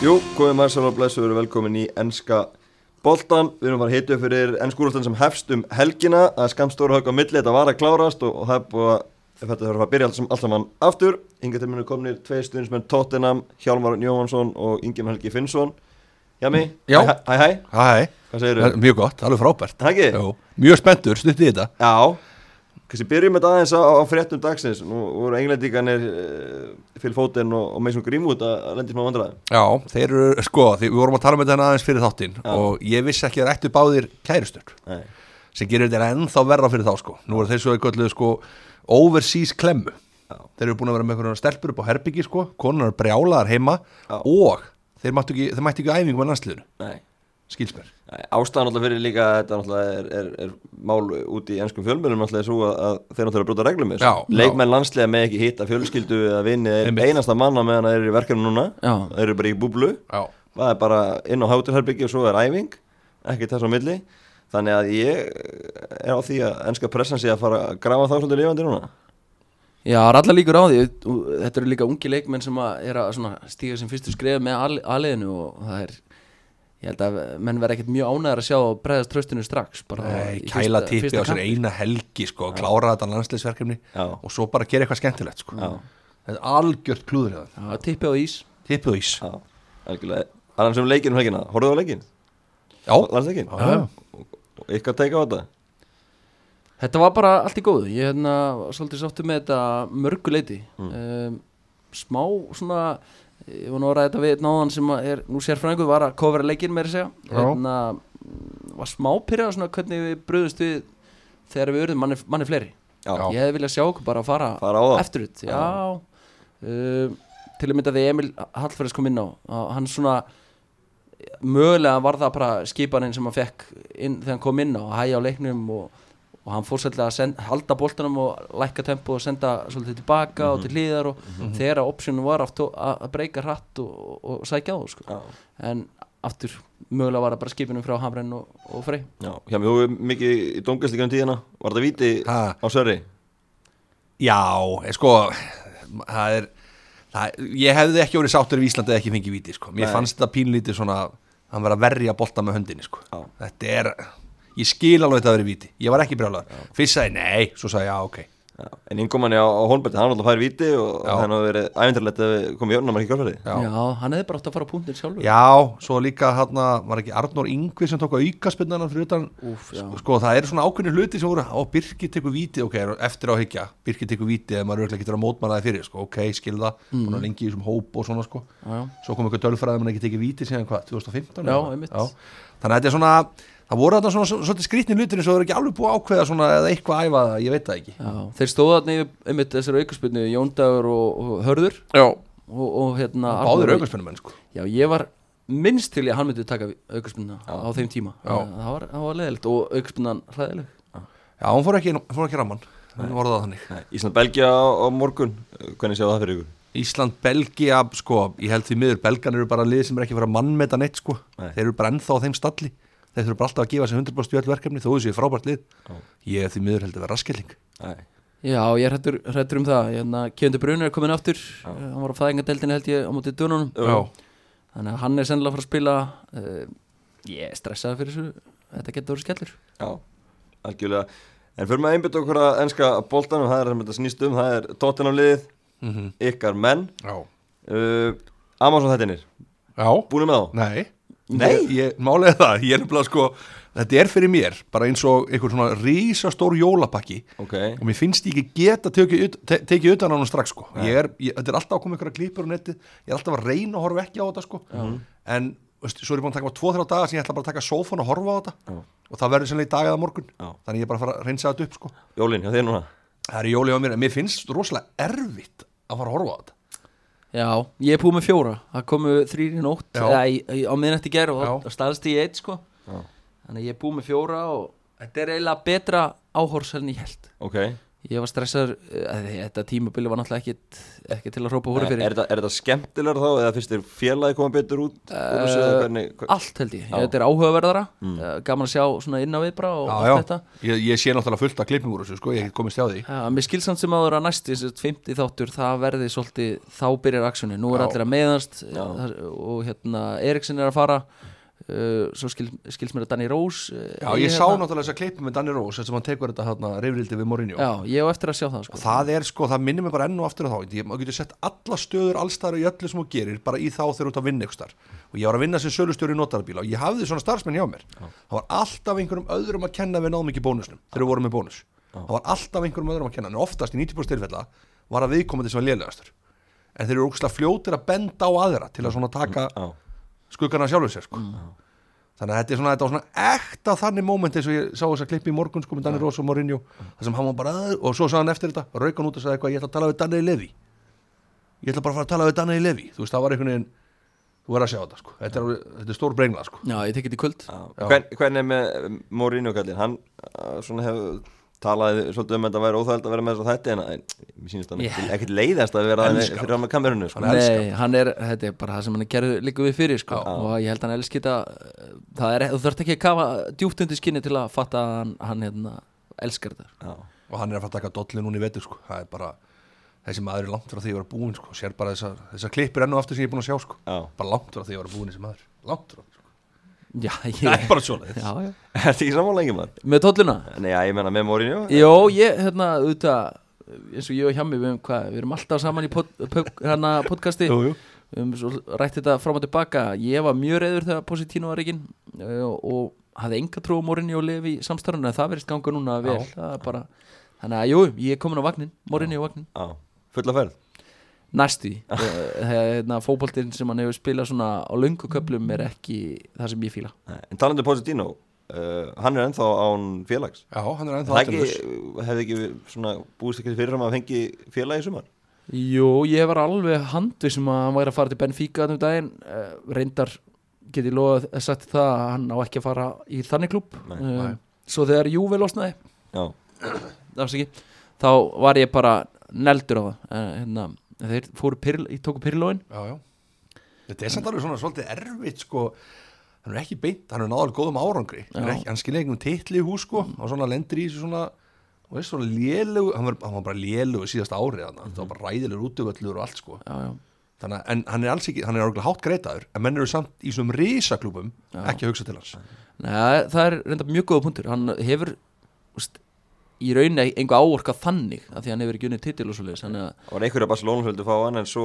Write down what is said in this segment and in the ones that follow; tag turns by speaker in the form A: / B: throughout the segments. A: Jú, komið maður sér og blessu, við erum velkomin í ennska boltan Við erum bara hittu fyrir ennskúrústan sem hefst um helgina Það er skamstóra högg á milli, þetta var að klárast og, og það er búið að þetta þarf að byrja allt sem allt saman aftur Inga til minni komnir tvei stundismenn Tottenham, Hjálmar Jóhansson og Ingjum Helgi Finnsson Jami,
B: Já.
A: hæ, hæ, hæ,
B: Hæ, um,
A: hvað segirðu?
B: það er mjög gott, alveg frábært
A: Það ekki?
B: Jó, Mjög spenntur, stutt í þetta
A: Já, kannski byrjum þetta aðeins á, á fréttum dagsins Nú voru englendinganir Phil Foden og, og Mason Greenwood að að lenda í smá vandræðum
B: Já, þeir eru, sko, því við vorum að tala með þetta aðeins fyrir þáttinn og ég vissi ekki að þeir ættu báðir kærustur
A: Nei.
B: sem gerir þetta ennþá verra fyrir þá, sko Nú eru þeir svo að gölluðu, sko, overseas klemmu
A: Já.
B: Þeir eru búin að vera með einhverjum stelpur upp á herbyggi, sko konunar brjálaðar heima
A: Já.
B: og þeir mættu ekki, þeir mættu ekki á æfingu með landsliðinu,
A: Nei
B: skilsmer
A: Nei, Ástæðan alltaf fyrir líka að þetta náttúrulega er, er, er mál út í ennskum fjölmjölum alltaf svo að, að þeir náttúrulega brota reglum með
B: Já,
A: þessu. Leikmenn landslega með ekki hitta fjölskyldu eða vinni er
B: Einmitt.
A: einasta manna meðan þeir eru í verkefni núna
C: Já.
A: þeir eru bara í búblu
B: Já,
A: það er bara inn á hátilherbyggi og svo er æfing ekki þess á milli þannig að ég er á því að ennska pressan sé að fara að grafa þá svolítið lifandi núna
C: Já, það er allar líkur á því og Þetta eru líka ungi leikmenn sem að er að svona stíga sem fyrstu skref með al- aðliðinu og það er ég held að menn verða ekkert mjög ánæðar að sjá og breyðast tröstinu strax bara
B: Nei,
C: í fyrsta-
B: kæla tippi
C: fyrsta
B: á sér
C: kampi.
B: eina helgi sko, klára þetta landsliðsverkefni
A: Já.
B: og svo bara gera eitthvað skemmtilegt sko. þetta er algjört klúður hjá þeim.
C: Já, tippi á ís
B: tippið á ís
A: Já, algjörlega Annars um leikinn um helgina, horfðu á leikinn?
B: Já,
A: Landsleikinn?
B: Já, já.
A: Og Ykkar teika á þetta?
C: Þetta var bara allt í góðu Ég hérna, var svolítið sáttu með þetta mörguleiti
A: Mm.
C: um, Smá svona Ég var nú að ræða þetta við náðan sem að er Nú sérfræðingur var að kofra leikinn meira að segja
B: Já.
C: hérna, Var smá pyrrað svona hvernig við bröðumst við Þegar við urðum manni, manni fleiri
A: Já,
B: Já.
C: Ég hefði viljað sjá okkur bara að fara,
A: Fara á það.
C: eftir út Já, Um, Til að mynda því Emil Hallferðis kom inn á að Hann svona mögulega var það bara skipaninn sem hann fekk inn, þegar hann kom inn á að hæja á leiknum og, og hann fór svolítið að send, halda boltanum og lækka tempo og senda svolítið tilbaka og
B: Mhm.
C: til hliðar og þegar optionum var aftur að að breyka hratt og, og, og sækja á það sko.
A: Já.
C: en aftur mögulega var það bara skipanum frá Hamrenn og, og Frey
A: Já, hjá mér þú er mikið í dómgæstlíkjum tíðina Var þetta víti
B: Ha.
A: á Sörri?
B: Já, eh, sko það er, það er ég hefði ekki orðið sáttur í Íslandi eða ekki fengið víti sko. mér
A: Nei.
B: fannst þetta pínlítið svona hann var að verja bolta með höndinni sko.
A: Já.
B: þetta er, ég skil alveg þetta að vera víti ég var ekki brjálaður, fyrst sagði ég, nei svo sagði ég, já, ok
A: Já. En innkomanni á, á Holmberti, hann var alltaf fær víti og
B: Já.
A: þannig að verið æfindarlegt að við komum í örnum að ekki kjálfæri
B: Já.
C: hann hefði bara átt að fara á punktin sjálfur
B: Já, svo líka hérna var ekki Arnór Yngvi sem tók að auka spennanan fyrir utan
C: Úff, já.
B: sko, sko það eru svona ákveðnir hluti sem voru á Birkir tekur víti, ok, er eftir á að hyggja Birkir tekur víti eða maður örugglega getur að mótmæla það fyrir sko, ok, skilða, mm. búin að lengi í þessum hóp og svona sko,
C: Já, já.
B: svo kom eitthvað dölfræði maður ekki tekið víti síðan hvað, 2015?
C: Já,
B: eða?
C: einmitt.
B: þannig að þetta er svona það voru þetta svona svolítið skrýtni hlutir eins og það er ekki alveg búið að ákveða svona eða eitthvað æfa það, ég veit það ekki
C: Já, þeir stóða þarna yfir einmitt þessari aukurspilnu Jóndagur og, og Hörður
B: Já,
C: og, og hérna
B: báðir
C: Arnór-
B: aukarspennumenn sko
C: Já, ég var minnst til ég að hann myndi taka aukarspunna á þeim tíma
B: Já.
C: það var, það var leðilegt og aukarspunnan hræðileg
B: Já, hún fór ekki, hún fór ekki í rammann, hún orðaði það þannig.
A: Ísland-Belgia á, á morgun, hvernig séu það fyrir ykkur?
B: Ísland, Belgia, sko, ég held því miður, Belgan eru bara lið sem er ekki að fara að mannmeta neitt, sko,
A: Nei.
B: þeir eru bara ennþá á þeim stalli, þeir þurfa bara alltaf að gefa sér 100% í öll verkefni, þó þessi er frábært lið, ég hef því miður held að vera raskelling.
A: Nei.
C: Já, ég er hrættur, hrættur um það hérna, Kevin De Bruyne er komin aftur Já. hann var á fæðingadeldinu held ég á móti dönunum þannig að hann er sennilega að fara að spila uh, ég er stressaði fyrir þessu þetta getur verið skellur
A: Já, algjörlega En fyrir maður einbytta okkur að ennska boltanum, það er sem þetta snýst um, það er tóttinam liðið,
B: Mhm.
A: ykkar menn
B: Já.
A: uh, Amazon þættinir,
B: Já.
A: búinu með þá?
B: Nei.
A: Nei?
B: Ég, ég málega það, ég er nefnilega, sko, þetta er fyrir mér, bara eins og einhver svona rísastór jólapakki
A: Ok,
B: og mér finnst ég ekki geta tekið, ut- te, tekið utan á hann strax, sko. Ég er, ég, þetta er alltaf að koma ykkur að klipur á netið, ég er alltaf að reyna að horfa ekki á þetta, sko, en veist, svo er ég búin að taka bara tvo-þrjá daga sem ég ætla bara að taka sófan og horfa á þetta og það verður sennilega í dag eða morgun
A: Já.
B: þannig ég er bara að fara að reynsa þetta upp sko.
A: Jólin, hjá þér núna
B: það er jólið á mér en mér finnst rosalega erfitt að fara að horfa á þetta
C: Já, ég er búið með fjóra það komu þrýri nótt
B: Já.
C: eða, í- í- á miðnætti gerð og
B: Já.
C: þá staðast ég í eitt sko.
A: Já.
C: þannig að ég er búið með fjóra og þetta er eiginlega betra áhors en ég held
A: Ok,
C: ég var stressaður eh, þetta tímabili var náttúrulega ekkit ekki til að hrópa
A: Er,
C: hóra fyrir
A: er, þetta, er þetta skemmtilegar þá eða finnst þér félagi koma betur út úr
B: Uh,
A: þessu,
C: Eh,
A: eða hvernig, hva-
C: allt held ég,
A: Já. Mm.
C: þetta er áhugaverðara eh, gaman að sjá svona inn á við bara og
B: Já,
C: allt
B: já,
C: þetta
B: ég, ég sé náttúrulega fullt af klippum úr þessu sko, ég hef ekki komist hjá því
C: Já, mér skilsamt sem áður að næst þessi 50 þáttur, það verði svolítið þá byrjar aksjónu, nú er
B: Já.
C: allir að meðast það- og hérna Eriksson er að fara uh, svo skil, skils mér að Danny Rose uh,
B: Já, ég sá náttúrulega þess að klippum með Danny Rose þess að hann tekur þetta hérna reyfrildi við Mourinho
C: Já, ég á eftir að sjá það sko.
B: og það er sko, það minnir mig bara enn og aftur á þá ég maður getur sett alla stöður allstæðar og í öllu sem þú gerir bara í þá þegar þú ert að vinna ykkur star og ég var að vinna sem sölustjóri í notarabíla og ég hafði svona starfsmenn hjá mér það var alltaf einhverjum öðrum að kenna að við náðum ekki bónusnum þegar við vorum með bónus það var alltaf einhverjum öðrum að kenna en oftast í 90% tilfella var að viðkomandi sem var lélegastur en þeir eru ógslag fljótir að benda á aðra til að svona taka
A: Já.
B: skuggana sjálfur sér sko. þannig að þetta er svona, þetta var svona ekta þannig moment eins og ég sá þess að klippi í morgun sko með Danny Rose og Mourinho þar sem hann var bara "Æ", og svo sagði hann eftir þetta rauk hann út og sagði eitthvað ég ætla að tala við Danny Levy ég ætla bara að fara að tala við Danny Levy þú veist það var einhvern veginn þú verður að sjá þetta sko þetta er, alveg- þetta er stór brengla sko
C: Já, ég tek þetta í kvöld
A: Já. Hvern, hvernig er með um, Mourinho kallinn hann uh, svona hefur talaði svolítið um að þetta væri óþægild að vera með þess að þætti en en mér sýnist hann
C: Ég-
A: yeah. ekkert leiðast að vera hann
B: Elskar
A: fyrir hann með kamerunni sko.
B: Hann elskar.
C: Nei, hann er, þetta er bara það sem hann gerði líka við fyrir sko. og ég held að hann elski þetta eh, það er, þú þarft ekki að kafa djúpt undir skinni til að fatta að hann, hann hérna, elskar þetta
A: Já.
B: og hann er að fara að taka dolli núna í vetur sko það er bara þessi maður er langt frá því að vera búinn sko sér bara þessar þessa klippir enn og aftur sem ég er búinn að sjá sko
A: Já.
B: bara langt frá því að vera búinn þessi maður langt frá sko.
C: Já, ég
B: það er bara svona
C: já, já.
A: Ertu ekki sammála engin maður?
C: Með tólluna?
A: Nei, já, ég menna með Mourinho
C: Jó, ég, hérna, auðvitað eins og ég og Hjami, við, erum hvað, við erum alltaf saman í pod, pod, hana, podcasti
B: Jú, jú.
C: við erum svo rætt þetta fram og tilbaka ég var mjög reyður þegar Positino var reygin og, og hafði enga trú á Morinni og Levi í samstarfinu, en það verðist ganga núna vel það er bara, þannig að jú, ég er komin á vagnin Morinni á vagnin,
A: Já, fulla ferð
C: næstu því. Eh, hérna, fótboltinn sem hann hefur spilað svona á löngu köplum er ekki það sem ég fíla
A: Nei, En talandi um Positino uh, hann er ennþá án félags
B: Já, hann er ennþá
A: Það ekki,
B: atvinnulaus.
A: hefði ekki svona búist ekki fyrir hann að fengi félagi í sumar
C: Jú, ég var alveg handið sem að hann væri að fara til Benfica þannig um daginn, uh, reyndar get ég loðað að sagt það að hann á ekki að fara í þannig klúb
A: Nei,
C: um, svo þegar Júve losnaði
A: Já,
C: afsaki, þá var ég bara neldur á það uh, hérna, þeir fóru pyrl, ég tóku pyrlóin
B: já, já. Þetta er samt alveg svona svolítið erfitt sko hann er ekki beint, hann er náður góðum árangri hann, er
C: Já. Mm.
B: ekki, hann skilja einhvern titli í hús sko og svona lendir í þessu svona og veist svona lélug, hann var, hann var bara lélug síðast árið hann, það
C: Mhm.
B: var bara ræðilegur útöföllur og allt sko,
C: já, já,
B: þannig að en hann er alls ekki, hann er orðlega hátt greitaður, en menn eru samt í svona risaklúbum, ekki að hugsa til hans
C: Nei, það er reyndar mjög góða punktur hann hefur úst, í rauninni einhver áorka þannig af því að hann hefur ekki unnið titil og svoleiðis þannig að
A: það var einhverja Barcelona svolítið að fá hann en svo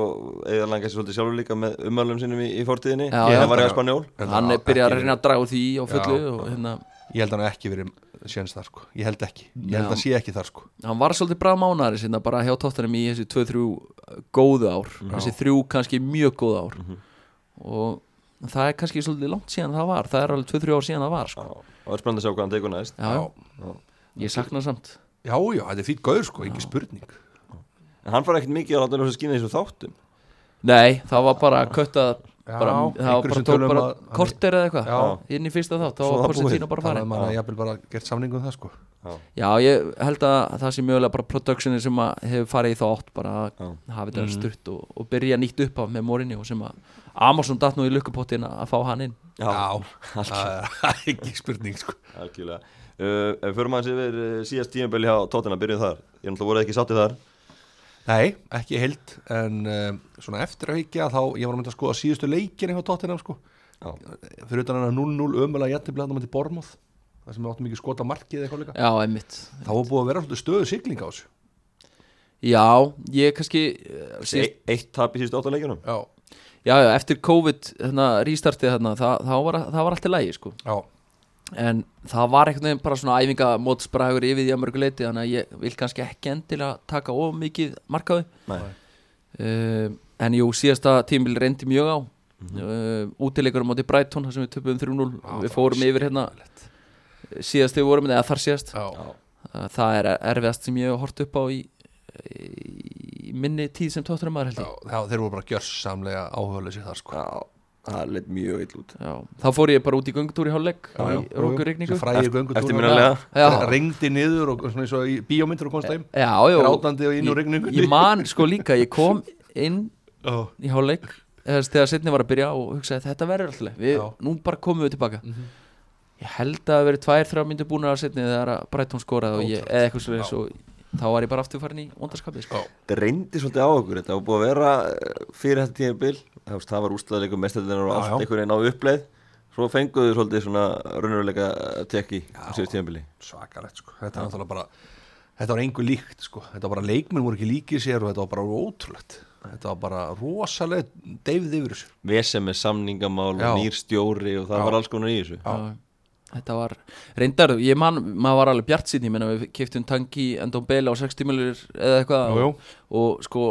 A: eða langast svolítið sjálfur líka með umöðlum sinum í, í fortíðinni
C: Já, já.
A: hann var í Spanjól
B: Þetta
C: hann
B: á-
C: er byrjað að
B: ekki
C: reyna að draga úr því á fullu
B: Já.
C: og hérna,
B: ég held að hann hafi ekki verið séns þar sko, ég held ekki ég
C: Já.
B: held að sé ekki þar sko
C: hann var svolítið brað mánari sinna bara hjá tóttanum í þessi 2-3 góðu ár, þessi 3 kannski mjög góðu ár og það er kannski svolítið langt síðan það var það er alveg 2-3 ár síðan það var sko.
A: Já, og það er spennandi að sjá hvað hann tegur næst
C: já, ég sakna samt
B: já, já, þetta er fýtt gaur sko, ekki spurning
A: En hann fara ekkert mikið að láta hann skýna þessu þáttum
C: nei, það var bara að kötta
B: Já,
C: bara, það var
B: einhverjum
C: bara
B: sem
C: tók
B: tölum
C: bara
B: að-
C: korter eða eitthvað
B: Já.
C: inn í fyrsta þátt, þá
A: Svo
C: var
A: það búið.
C: Porsettino bara
B: þannig að
C: farin
B: maður jafnvel bara gert samningu um það sko
C: já, ég held að það sé mjögulega bara productionin sem að hefur farið í þátt bara að hafa þetta stutt og, og byrja nýtt upp af með morinni og sem að Amazon datt nú í lukkupottin að fá hann inn
B: Já, það er ekki spurning sko.
A: Algjörlega uh, ef Við förum aðeins yfir uh, síðast tímabili hjá Tottenham, byrjum þar Ég náttúrulega voru ekki sáttið þar
B: Nei, ekki heilt En um, svona eftir að higgja þá Ég var að mynda að skoða síðustu leikin eitthvað tóttina sko.
A: Já,
B: Fyrir utan hann að 0-0 ömulega jættiblaðan á mætti Bormóð Það sem við áttum ekki skota markið eða eitthvað líka
C: já, einmitt
B: Þá var búið að vera svolítið stöðu sigling á þessu
C: Já, ég kannski eh,
A: e
C: síðast,
A: eitt tap í síðustu átta leikunum
B: Já,
C: já, já, eftir COVID hérna, rístartið hérna, það, það, var, það var allt í lægi sko.
B: já,
C: en það var einhvern veginn bara svona æfinga mótsbragur yfir því að mörgu leiti þannig að ég vil kannski ekki endilega taka of mikið markaði
A: Nei.
C: uh, en jú, síðasta tímil reyndi mjög á mm útilegur á móti Brighton þar sem við töpuðum 3-0
B: Já,
C: við
B: Mhm. það
C: fórum
B: var
C: yfir hérna síðast þegar við vorum, eða þar síðast
B: já,
C: Uh, það er erfiðast sem ég hef hort upp á í, í minni tíð sem tótturum maður held ég
B: já, já Þeir voru bara gjörsamlega áhuglega sér þar sko.
A: Já, það leitt mjög ill út
C: já. þá fór ég bara út í göngutúr í hálfleik í rókurigningu
B: fræði göngu
A: eftir minnulega
C: já,
B: ringdi niður og svona eins og í bíómyndir og komst heim
C: já, já
B: grátandi og inn úr
C: ég,
B: rigningunni
C: ég man sko líka, ég kom inn
B: Ó,
C: í hálfleik þess, þegar setni var að byrja og hugsaði þetta verður alltaf við,
B: Já.
C: nú bara komum við tilbaka
B: mhm.
C: ég held að það verið tvær, þrjá myndu búin að setni þegar að Brighton skoraði og ég,
B: Ótrúlegt.
C: eða eitthvað svo
B: Já.
C: og þá var ég bara aftur farin í vondarskapi sko.
B: Já.
A: þetta reyndi svolítið á okkur þetta var búið að vera eh, fyrir þetta tímabil það, veist, það var úrstæðleikum mestarleinar og
B: Já, já.
A: allt einhvern veginn á uppleið svo fenguðu svolítið svona raunveruleika tekki á síðust tímabili
B: svakalegt sko. þetta var náttúrulega bara þetta var engu líkt sko. þetta var bara leikmenn voru ekki líkið sér og þetta var bara ótrúlegt þetta var bara rosalega deyfið yfir þessu
A: vesen með samningamál
B: Já.
A: og nýr stjóri og það
B: Já.
A: var alls konar í þessu
B: Já.
C: þetta var reyndar, ég man, maður var alveg bjart sín ég menna við kiptum tanki endum beila á 60 miljónir eða eitthvað
B: Jú, jú.
C: og sko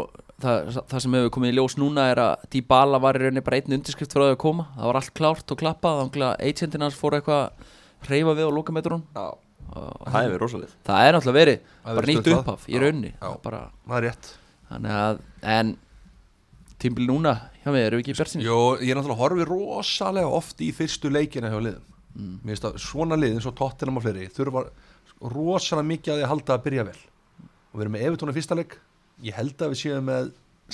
C: það, það sem hefur komið í ljós núna er að Dybala var í rauninni bara einn undirskrift frá því að koma það var allt klárt og klappað þannig að agentin hans fór eitthvað að reyfa við á lokametrun
A: það hefur rosalegt
C: það er náttúrulega verið
B: Það
C: bara
B: verið
C: nýtt
B: stöðlað.
C: upphaf í
B: Já,
C: raunni
B: já.
C: bara,
B: það er rétt
C: þannig að en tímbili núna hjá mig erum við ekki bjartsinni
B: Jó, ég er náttúrulega horfi rosalega oft í fyrstu leikina hjá liðum
A: Mm.
B: Mér finnst að svona liðin, svo tottenum og fleiri þurfa sko, rosalega mikið að því að halda að byrja vel og við erum með Evertón í fyrsta leik ég held að við séum með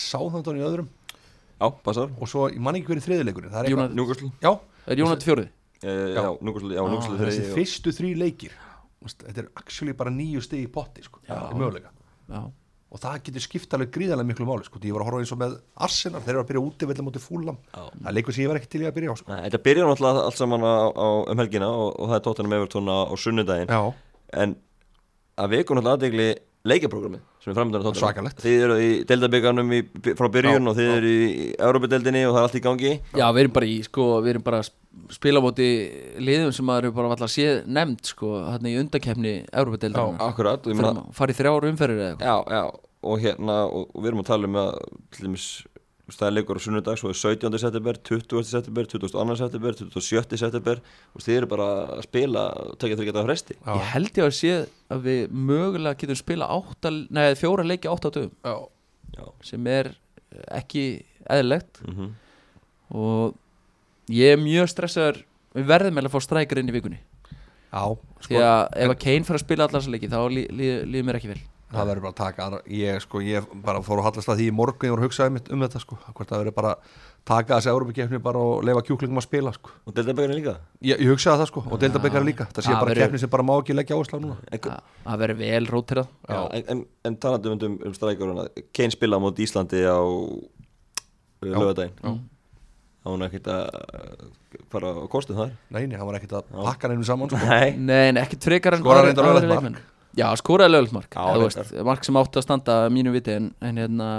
B: Sáþandón í öðrum
A: já, passar
B: og svo, ég man ekki hverju þriðileikurinn það er eitthvað,
C: Jónat,
A: Núgurslu
B: já,
C: er Jónat fjórið?
A: Eh,
B: Já.
A: Já, núgurslu, já, núgurslu
B: þessi
A: þeirri
B: fyrstu þrý leikir þú veist, þetta er actually bara nýju stig í potti sko,
C: Já.
B: í möguleika
C: Já,
B: og það getur skipt alveg gríðarlega miklu máli sko, því ég var að horfa eins og með Arsenal, þeir eru að byrja úti velja mútið fúlam, það er leikur sem ég var ekki til í að byrja á sko.
A: Nei, Þetta byrjar náttúrulega allt saman á, á, um helgina og, og það er tóttunum Evertón á, á sunnudaginn
B: Já.
A: en að veku náttúrulega aðdegli leikjaprogrammi sem er framöndan á tóttunum
B: Svakalegt.
A: Þið eru í deildabyggarnum í, frá byrjun
B: Já,
A: og þið
B: já.
A: eru í Európa-deildinni og það er allt í gangi
C: við erum bara í sko, við erum bara að sp- spila á móti liðum sem maður eru bara alltaf séð nefnd sko, hérna í undakefni Európa-deildarinnar
A: Akkurat og ég meina-
C: farið þrjár umferðir eða eitthvað
A: Já, já og hérna og, og við erum að tala um að til dæmis þú veist, það er leikur á sunnudag svo er 17. september, 20. september, 22. september 27. september og þið eru bara að spila og tekja þriggja daga fresti
B: Já.
C: ég held ég að sé að við mögulega getum spila átta, nei, fjóra leiki átta á dögum
B: Já.
A: Já,
C: sem er ekki eðlilegt
A: mm
C: og ég er mjög stressaður við verðum meðlega að fá strækir inn í vikunni
B: Já, sko,
C: því að ef að Kane fyrir að spila allar þessa leiki þá líður lí, lí, mér ekki vel
B: það verður bara að taka aðra, ég sko, ég bara fór að hallast að því í morgun ég voru að hugsa um, um þetta sko, hvort það verður bara að taka þessi Európa-kefni bara og leifa kjúklingum að spila sko,
A: og deildabyggarnir líka
B: ég, ég hugsaði það sko, og deildabekar líka, það sé
C: Já,
B: bara
C: verður-
B: kefni sem bara má ekki leggja áherslu á núna.
A: En,
C: Að- að vera vel rótirað
A: Já, en, en, en talandum um, um strækjóruna Kane spilaði á móti Íslandi á uh, lögadaginn þá hún ekkert að uh, fara á kostum þar
B: Nei, nei, hann var ekkert að pakka nefnum saman sko.
A: Nei,
C: Nei, nei, ekkert frekar en
B: Skorar
C: aðrir-
B: reyndar
C: aðrir
B: löglegt mark.
C: leikmenn. Já, skoraði löglegt mark
A: Já,
C: Þú
A: reyndar.
C: veist, Mark sem átti að standa að mínu viti en, en hérna,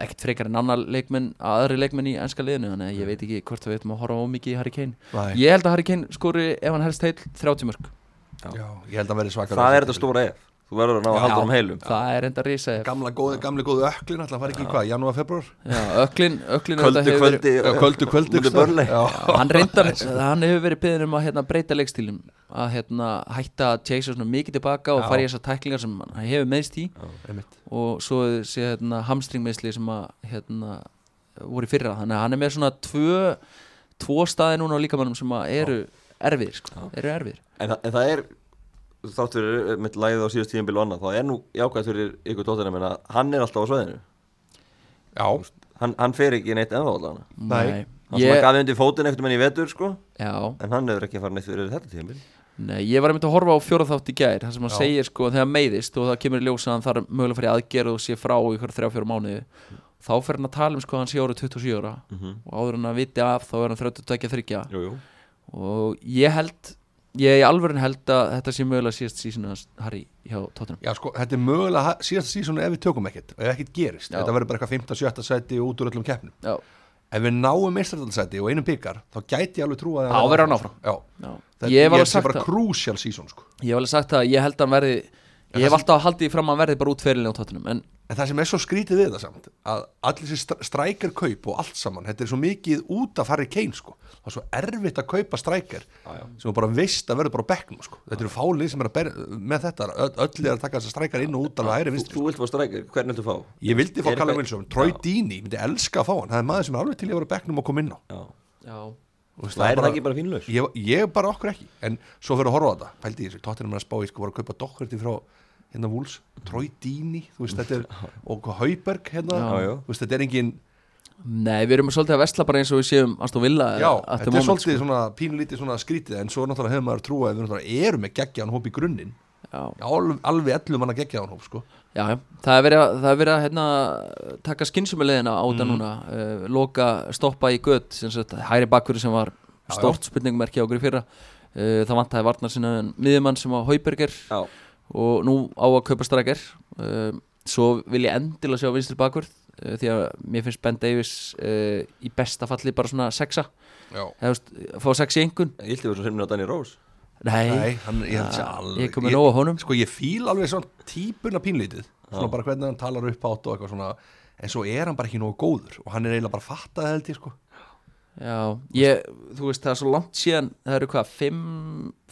C: ekkert frekar en annar leikmenn aðri leikmenn í enska liðinu þannig að ég veit ekki hvort við veitum að horfa ómikið í Harry Kane
B: Nei.
C: Ég held að Harry Kane skori ef hann helst heil 30 mörg
B: Já, ég held að hann verði svakar
A: það er þetta stóra ef þú verður að ná að halda um heilum
C: Það er enda risa
B: Gamla góði, gamli góði öklin, alltaf var ekki í hvað, janúar, februar
C: Já, öklin, öklin
A: Köldu kvöldi uh,
B: Já, köldu kvöldu
A: Mútið börnleik
C: hann reyndar, hann hefur verið beðin um að hérna, breyta leikstílum að hérna, hætta að chase svona mikið tilbaka og
B: Já.
C: fara í þessar tæklingar sem hann hefur meðst í og svo sé hérna, hamstringmeðsli sem að hérna, voru í fyrra þannig að hann er með svona tvö tvo staði núna á líkamannum sem að eru erfiðir, sko, eru erfiðir
A: en, þa- en það er þátt fyrir eh, mitt lagið á síðast tíðanbíl og annað þá er nú jákvæð fyrir ykkur tóttina að hann er alltaf á sveðinu
B: Já,
A: hann, hann fer ekki neitt ennþá allan hann
B: Nei.
A: sem að
C: ég,
A: gaf undir fótinn ekkert menn í vetur sko
C: já,
A: en hann hefur ekki farið neitt fyrir þetta tíðanbíl
C: Nei, ég var einmitt að horfa á fjóraþátt í gær það sem hann
B: Já.
C: segir sko þegar hann meiðist og það kemur í ljós að hann þarf mögulega að fara í aðgerð og sé frá í ykkur þrjá fjóra mánuði þá fer hann að tala um sko að hann sé árið 27 ára og áður hann að viti af þá er hann 32-3
A: jú, jú.
C: og ég held ég í alvörin held að þetta sé mögulega síðast sísinu hans Harry hjá Tottenham
B: Já sko, þetta er mögulega ha- síðasta sísónu ef við tökum ekkert og ef ekkert gerist,
C: Já.
B: þetta verður bara eitthvað 15, 17 sæti og út úr öllum keppnum
C: Já,
B: Ef við náum meistardalsæti og einum byggar þá gæti ég alveg trúa að
C: Þá verður hann áfram.
B: Já,
C: já.
B: þetta
C: Ég hef
B: er
C: alveg
B: sé
C: sagt
B: bara
C: það
B: crucial sísón sko
C: Ég hef alveg sagt það, að ég held að hann verði Ég hef alltaf haldið því fram að hann verði bara útferðilega á Tottenham en
B: En það sem er svo skrítið við þetta samt að allir þessi strækjar kaup og allt saman þetta er svo mikið út að fara í kein sko það er svo erfitt að kaupa strækjar sem þú bara veist að verður bara á bekknum sko þetta eru fálið sem er að ber, með þetta öll, öll er að taka þessi strækjar inn og út alveg hægri
A: Þú,
B: vinstri sko.
A: þú vilt fá strækir, hvern viltu fá?
B: Ég vildi fá
A: Er
B: Callum
A: eitthvað-
B: Wilson, Troy Deeney, myndi elska að fá hann, það er maður sem er alveg til í að vera á bekknum og koma inn á.
A: Já.
C: já,
B: Þú veist,
A: Það er
B: bara-
A: það ekki bara fínlaus
B: ég, ég bara okkur ekki en svo fyrir að horfa á þetta pældi ég þessu, tóttina með að spá ég sko var að kaupa Doherty frá hérna Wools, Troy Dini þú veist þetta er, og Hauberg hérna,
A: Já, já.
B: þú veist þetta er engin
C: nei, við erum svolítið að vesla bara eins og við séum Aston Villa
B: já,
C: at
B: þetta
C: the
B: er
C: moment, sko.
B: svolítið svona pínulítið svona skrítið en svo náttúrulega hefur maður trúa að við náttúrulega erum með geggjaðan hóp í grunninn
C: já.
B: alveg, alveg ellum hann að geggjaðan hóp sko
C: Já, já, það er verið að, það er verið að hérna, taka skynsumulegina á
B: Mm.
C: þetta núna uh, loka, stoppa í gött sem sagt, hæri bakkur sem var
B: já.
C: stort spurningumerki á okkur í fyrra uh, það vantaði varnar sinna miðjumann sem var Hauberger
A: Já.
C: og nú á að kaupa strækjar uh, svo vil ég endilega sjá vinstri bakkur uh, því að mér finnst Ben Davis uh, í besta falli bara svona sexa
B: já.
C: eða þú veist, fá sex í engun
A: Ég hildi verið svo hreiminu á Danny Rose
C: Nei,
B: Nei, hann, ég held sér
C: Ah,
B: alveg
C: ég er kominn nóg af honum.
B: Sko, ég fíl alveg svona típuna pínlítið Svona bara hvernig hann talar upp átt og eitthvað svona En svo er hann bara ekki nógu góður Og hann er eiginlega bara fattað held ég sko
C: Já, ég, þú veist það er svo langt síðan það eru hvað, fimm,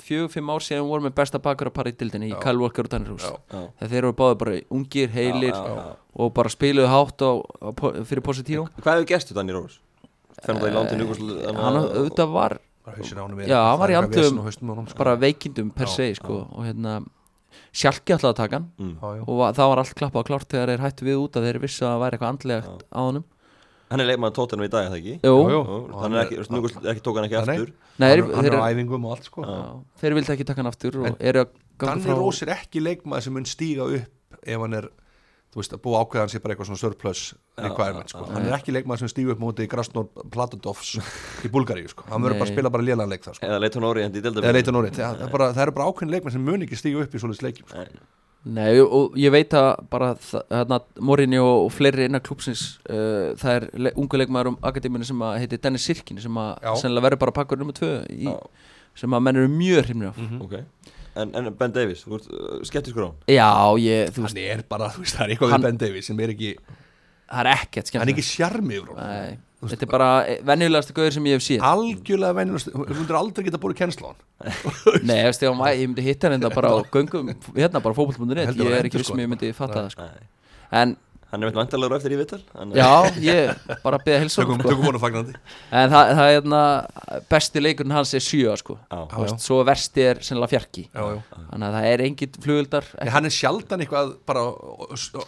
C: fjögur, fimm ár síðan við vorum með besta bakur að para í dildinni í Kyle Walker og Danny Rose
A: Já.
C: þegar þeir eru báði bara ungir, heilir og bara spiluðu hátt á, á, po- fyrir Positino
A: Hvað hefur gest við Danny Rose? Fennið það í landinu ykkur
C: hann auðvitað var
B: Bara hausinn á honum er-
C: Já, hann var í
B: það er eitthvað
C: andlöfum.
B: vesen á hausnum á honum, sko.
C: bara veikindum per se sko, og hérna sjálki alltaf að taka hann
B: Já, já.
C: og va- það var allt klappað og klárt þegar þeir hættu við út að þeir vissu að það væri eitthvað andlegt á honum
A: Hann er leikmaður tóttunum í dag, er það ekki?
C: Jú,
B: Já, já.
A: Jú, Hann er ekki, Nugurs ekki tók hann ekki
B: Nei, nei.
A: aftur
B: Hann
C: Nei, þeir-
B: er- hann er
C: þeir-
B: á æfingum og allt sko
C: Já, þeir vildi ekki taka hann aftur og eru að ganga
B: Danni
C: frá-
B: Rós er ekki leikmaður sem mun stíga upp Ef hann er, þú veist, að búa ákveðan sér bara eitthvað svona surplus requirement sko Hann er ekki leikmaður sem stíga upp móti Krasnor Platadovs í Bulgaríu sko Hann verður bara að
C: Nei.
B: spila bara lélan leik þar sko
A: Eða leitt hann orðið í
B: Eða
A: deildabíl
B: leita núrið, það er bara- það eru bara ákveðin leikmenn sem mun ekki stíga upp í svoleiðis leikjum sko.
C: Nei og ég veit að bara þa- hérna, Morinni og, og fleiri innan klúpsins uh, það er le ungu leikmaður um akademíunni sem að heiti Dennis Sirkin sem að
B: Já.
C: sennilega verður bara pakkur nummer tvö í,
A: Já.
C: sem að menn eru mjög hrimni
B: Mhm.
C: af
A: Ok En en Ben Davis, þú ert uh, skeptiskur á hann
C: Já, ég, þú veist,
B: hann er bara, þú veist, það er eitthvað
C: Hann-
B: við Ben Davies sem er ekki,
C: það er ekkert
B: hann er
C: skemmt
B: ekki sjarmi yfir honum,
C: Nei, þetta er bara venjulegasta gauður sem ég hef séð
B: algjörlega venjulast hún myndir aldrei geta búið kennsla á hann
C: Nei, ég veist, ég, var- ég myndi hitta hann enda bara á göngum hérna bara fótboll.net,
B: Heldur
C: ég
B: að
C: er ekki viss
B: endurskoða.
C: sem ég myndi fatta það sko.
A: Nei.
C: En
A: Hann er meitt vantarlegur eftir í vital hann er-
C: já, ég bara beða helsa
B: tökum, tökum honum fagnandi
C: sko. En það, það er hérna, besti leikurinn hans er sjö sko.
A: Já.
C: Þú veist, Svo versti er sennilega fjarki
B: já, já.
C: Þannig að það er engin flugildar
B: En hann er sjaldan eitthvað bara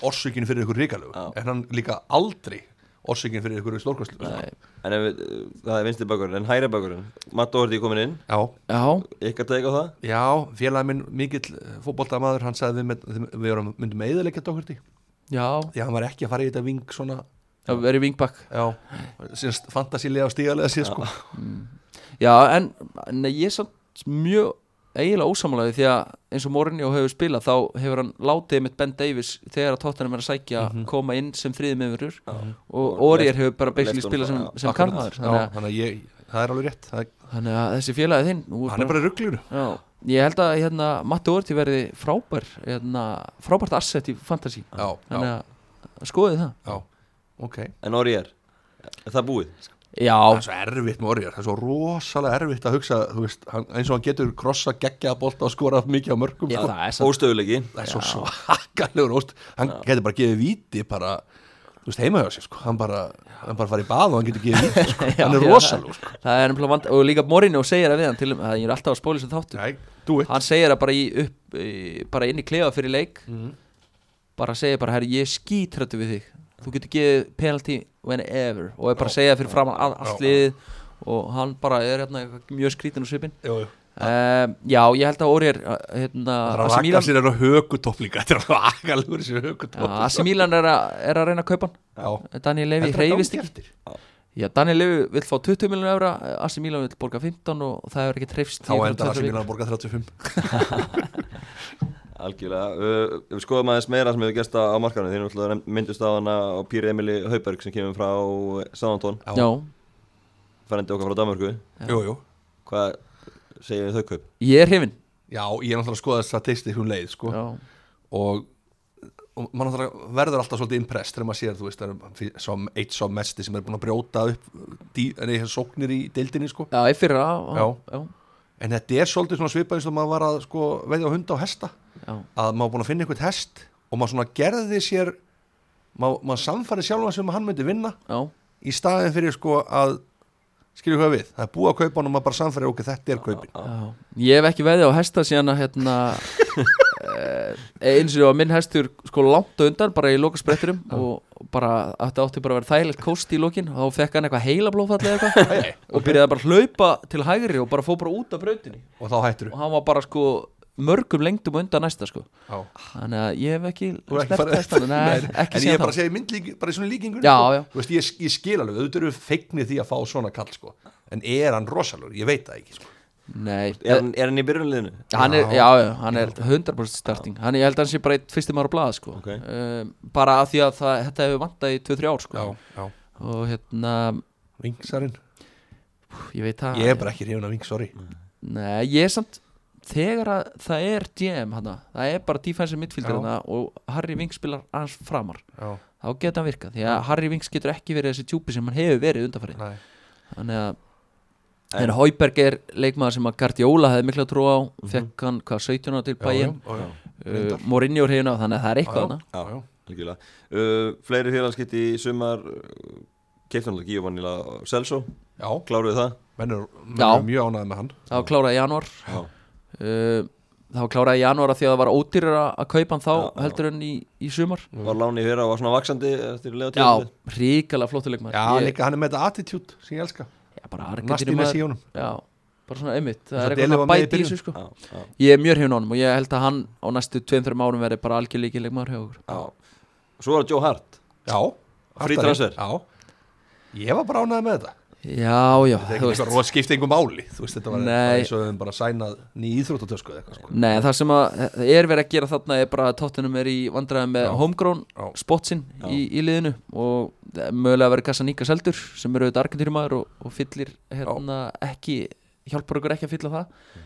B: orsökin fyrir ykkur ríkalögu en hann líka aldrei orsökin fyrir ykkur stórkvæslu já,
A: En ef við, uh, það er vinstri bakurinn, en hæri bakurinn Matt Doherty komin inn,
C: Já,
A: ykkar teik á það
B: já félagi minn mikill eh, fótboltamaður hann sagði við, með, við vorum, myndum meðilegja dókvörti
C: já,
B: já, hann var ekki að fara í þetta ving svona
C: það verið vingbakk
B: já, síðan fantasílega og stígalega síðan sko
C: Mm. Já, en nei, ég er samt mjög eiginlega ósamlega því að eins og Mourinho hefur spilað þá hefur hann látið mitt Ben Davis þegar að Tottenham er að sækja
B: Mhm.
C: koma inn sem friði meðurur og
A: Og
C: Orier
A: left-
C: hefur bara basically
A: left
C: spilað sem,
A: honum, já,
C: sem
B: Akkurat.
C: karmaður
B: já,
C: þannig, að-
B: þannig að ég, það er alveg rétt það er,
C: þannig að þessi félagið þinn nú
B: hann er bara ruglur
C: Já, ég held að hérna, Matti Orti verði frábær hérna, frábært asset í fantasy
B: já, já,
C: þannig að skoði það
B: já, ok
A: En orðið er, er það búið?
B: það
C: Já,
B: er svo erfitt með orðjar, það er svo rosalega erfitt að hugsa, þú veist, hann, eins og hann getur krossa geggjaða bolta og skora mikið á mörgum
C: já
B: sko.
C: það er samt
A: Óstöðulegi
B: það er svo svakalegur óst hann getur bara gefið víti bara, þú veist, heima hjá sér, sko. hann bara hann bara farið í bað og hann getur gefið víti sko.
C: Já,
B: hann er
C: já,
B: rosalega, sko
C: það, það er nefnilega vand og líka Morinu segir að við hann til að ég er alltaf að spóla sem þáttu
B: Nei, do it,
C: hann segir að bara, í, upp, í, bara inn í klefa fyrir leik
B: Mm.
C: bara segir bara herri ég er skítrættu við þig þú getur gefið penalty whenever og er bara að segja fyrir framann all, allt
B: Já.
C: liðið og hann bara er hérna eitthvað mjög skrítin og svipin
B: jú, jú
C: um, já ég held að Óri er hérna,
B: Það er að
C: AC
B: raka
C: Milan-
B: sér er á hökutopp líka Þetta er að raka lögur sér hökutopp
C: Já, AC Milan er, að- er að reyna að kaupa hann Daniel Levy reyfist ekki Já, Daniel Levy vill fá 20 miljonar evra AC Milan vill borga 15 og það er ekki treyfst
B: Þá endar það sem Milan að borga 35
A: Algjörlega, uh, ef við skoðum aðeins meira sem hefur gerst á á markanum Þið erum alltaf nefnd- myndust á hana á Píri Emili Hauberg sem kemur frá Sanantón
B: Já.
C: Já,
A: Færendi okkar frá Danmörku
B: Jú, jú
A: Hvað segir þau kaup?
C: ég er hrifin
B: Já, ég er náttúrulega að skoða statistik hún leið, sko
C: Já,
B: og, og mann verður alltaf svolítið impress þegar maður sér, þú veist, það er fyr- sá, eitt sá mesti sem er búin að brjóta upp dí, nei, sóknir í deildinni, sko
C: já ég fyrir að
B: Já.
C: já,
B: en þetta er svolítið svona svipað eins og maður var að sko, veðja á hunda og hesta
C: já,
B: að maður var búin að finna einhvern hest og maður svona gerði sér um maður, maður samfæri sjálfan sem hann myndi vinna
C: já,
B: í staðin fyrir sko að skilju hvað við, það er búið að kaupa hann og maður bara samfæri ok, þetta er kaupin
C: Já. Ég hef ekki veðið á hesta síðan að hérna eh, eins og að minn hestur sko langt á undan bara í lokaspretturum og bara að þetta átti bara að vera þægilegt kost í lokin og þá fekk hann eitthvað heila blófalli eitthvað og byrjaði bara að hlaupa til hægri og bara fór bara út af brautinni
B: og þá hættur
C: og hann var bara sko mörgum lengdum á undan næsta sko
B: þú
C: þannig að ég hef ekki
B: Þú er ekki
C: sleppt
B: farið
C: hestan
B: Nei,
C: Nei,
B: En ég
C: ekki
B: er
C: síðan
B: bara að
C: þá
B: segja í myndlík, bara í svona líkingur
C: Já,
B: sko.
C: já.
B: Þú veist, ég, ég skil alveg, auðvitað eru feignir því að fá svona kall sko. En er hann rosalur, ég veit það ekki sko.
C: Nei,
A: Er hann, er hann í byrjunliðinu?
C: hann er, já, já, hann er 100% starting hann, ég held að hann sé bara eitt fyrstum ára blað sko.
A: Ok.
C: um, bara af því að það, þetta hefur vantað í 2-3 ár sko.
B: já.
C: og hérna,
B: Vingsarinn,
C: ég veit það
B: ég er bara ekki hrifun af ving, sorry
C: nei, ég er samt þegar að það er DM hana, það er bara defensive midfielder
B: Já.
C: hana, og Harry Winks spilar hans framar
B: já,
C: þá getur hann virkað, því að Harry Winks getur ekki verið þessi tjúpi sem hann hefur verið undanfarið
B: nei,
C: þannig að
A: En-
C: En Hauberg er leikmaður sem að Guardiola hefði mikla trú á, fekk hann hvað 17 ára til
B: Mhm. já, já,
C: bæinn,
B: já, já,
C: uh, Mourinho er hefðin á þannig að það er eitthvað
B: já,
C: hana
B: já, já.
A: Algjörlega. Uh, fleiri félagskipti í sumar uh, keipti hann alveg Giovanni La Celso
B: já
A: kláruðu það
B: menn er, menn
C: Já.
B: er mjög ánægð með hann
C: Það var klárað í janúar
A: Já.
C: uh, Það var klárað í janúar af því að það var ódýrar að kaupa hann þá
A: Já, já.
C: heldur en í, í sumar
A: var láni í fyrra og var svona vaksandi eftir lega
C: Já,
A: tíðanbili
C: ríkala flottuleikmar
B: Já, líka hann er með þetta attitude sem ég elska
C: já, bara
B: Nasti
C: Argentínu
B: með
C: maður
B: síðunum
C: Já, bara svona einmitt Það
B: Svo
C: er
B: Dele
C: eitthvað
B: var
C: að
B: með í
C: bæta í
B: byrjun.
C: þessu sko
A: já, já,
C: Ég er mjög hefn á honum og ég held að hann á næstu 2-3 árum verði bara algjörleiki leikmaður hjá okkur
A: já. svo var Joe Hart
B: Já,
A: Free
B: Haftari.
A: transfer.
B: Já, ég var bara ánægð með þetta
C: Já, já,
B: Þetta er
C: þú
B: ekki
C: veist
B: eitthvað rót skipti einhver máli Þú veist, þetta var
C: Nei.
B: bara eins og þeim bara sænað ný íþróttatösku eða eitthvað sko.
C: Nei, það sem að, það er verið að gera þarna er bara að tóttunum er í vandræðum með
B: Já. Já.
C: homegrown spotsinn
A: Já.
C: í, í liðinu og það er mögulega að vera kassa nýka seldur sem eru auðvitað argentýrumaður og, og fyllir hérna ekki, hjálpar okkur ekki að fylla það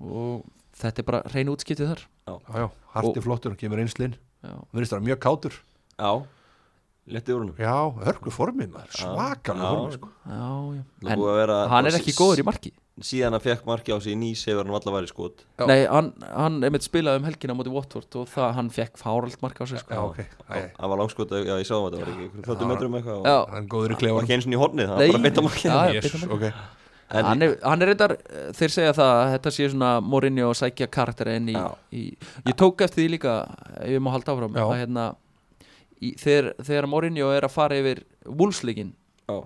C: og þetta er bara hrein útskiptið þar
B: Já, já, harti flottur og kemur einslinn
C: Já,
B: Verðist það mjög kátur
A: já, létti úr húnum
B: Já, hörku formið maður,
A: Já.
B: svakalega formið sko.
C: já, já.
A: Það
C: En
A: búið að vera-
C: hann er ekki góður í marki
A: síðan hann fekk marki á sig í nýs hefur hann alltaf værið skot
B: Já.
C: Nei, hann, hann einmitt spilaði um helgina á móti Watford og það hann fekk fáralt marka á sig
B: Já,
C: sko.
B: ok, Æ, æ.
A: það var langskot, já ég sá það það var ekki 30 metrum eitthvað og
C: Já.
B: hann er góður í
A: var
B: klefan
A: ekki eins og í hornið, það
C: Nei.
A: var bara beint á markið
C: Já, já,
B: Jesus,
C: bitum
B: ok
A: En-
C: hann er, hann er reyndar, eh, þeir segja það að þetta sé svona Mourinho og sækja karakter inn í,
A: Já.
C: í ég tók eftir því líka ef ég má halda áfram
B: Já.
C: að hérna, í, þegar, þegar Mourinho er að fara yfir Wolfsleikin
A: Já.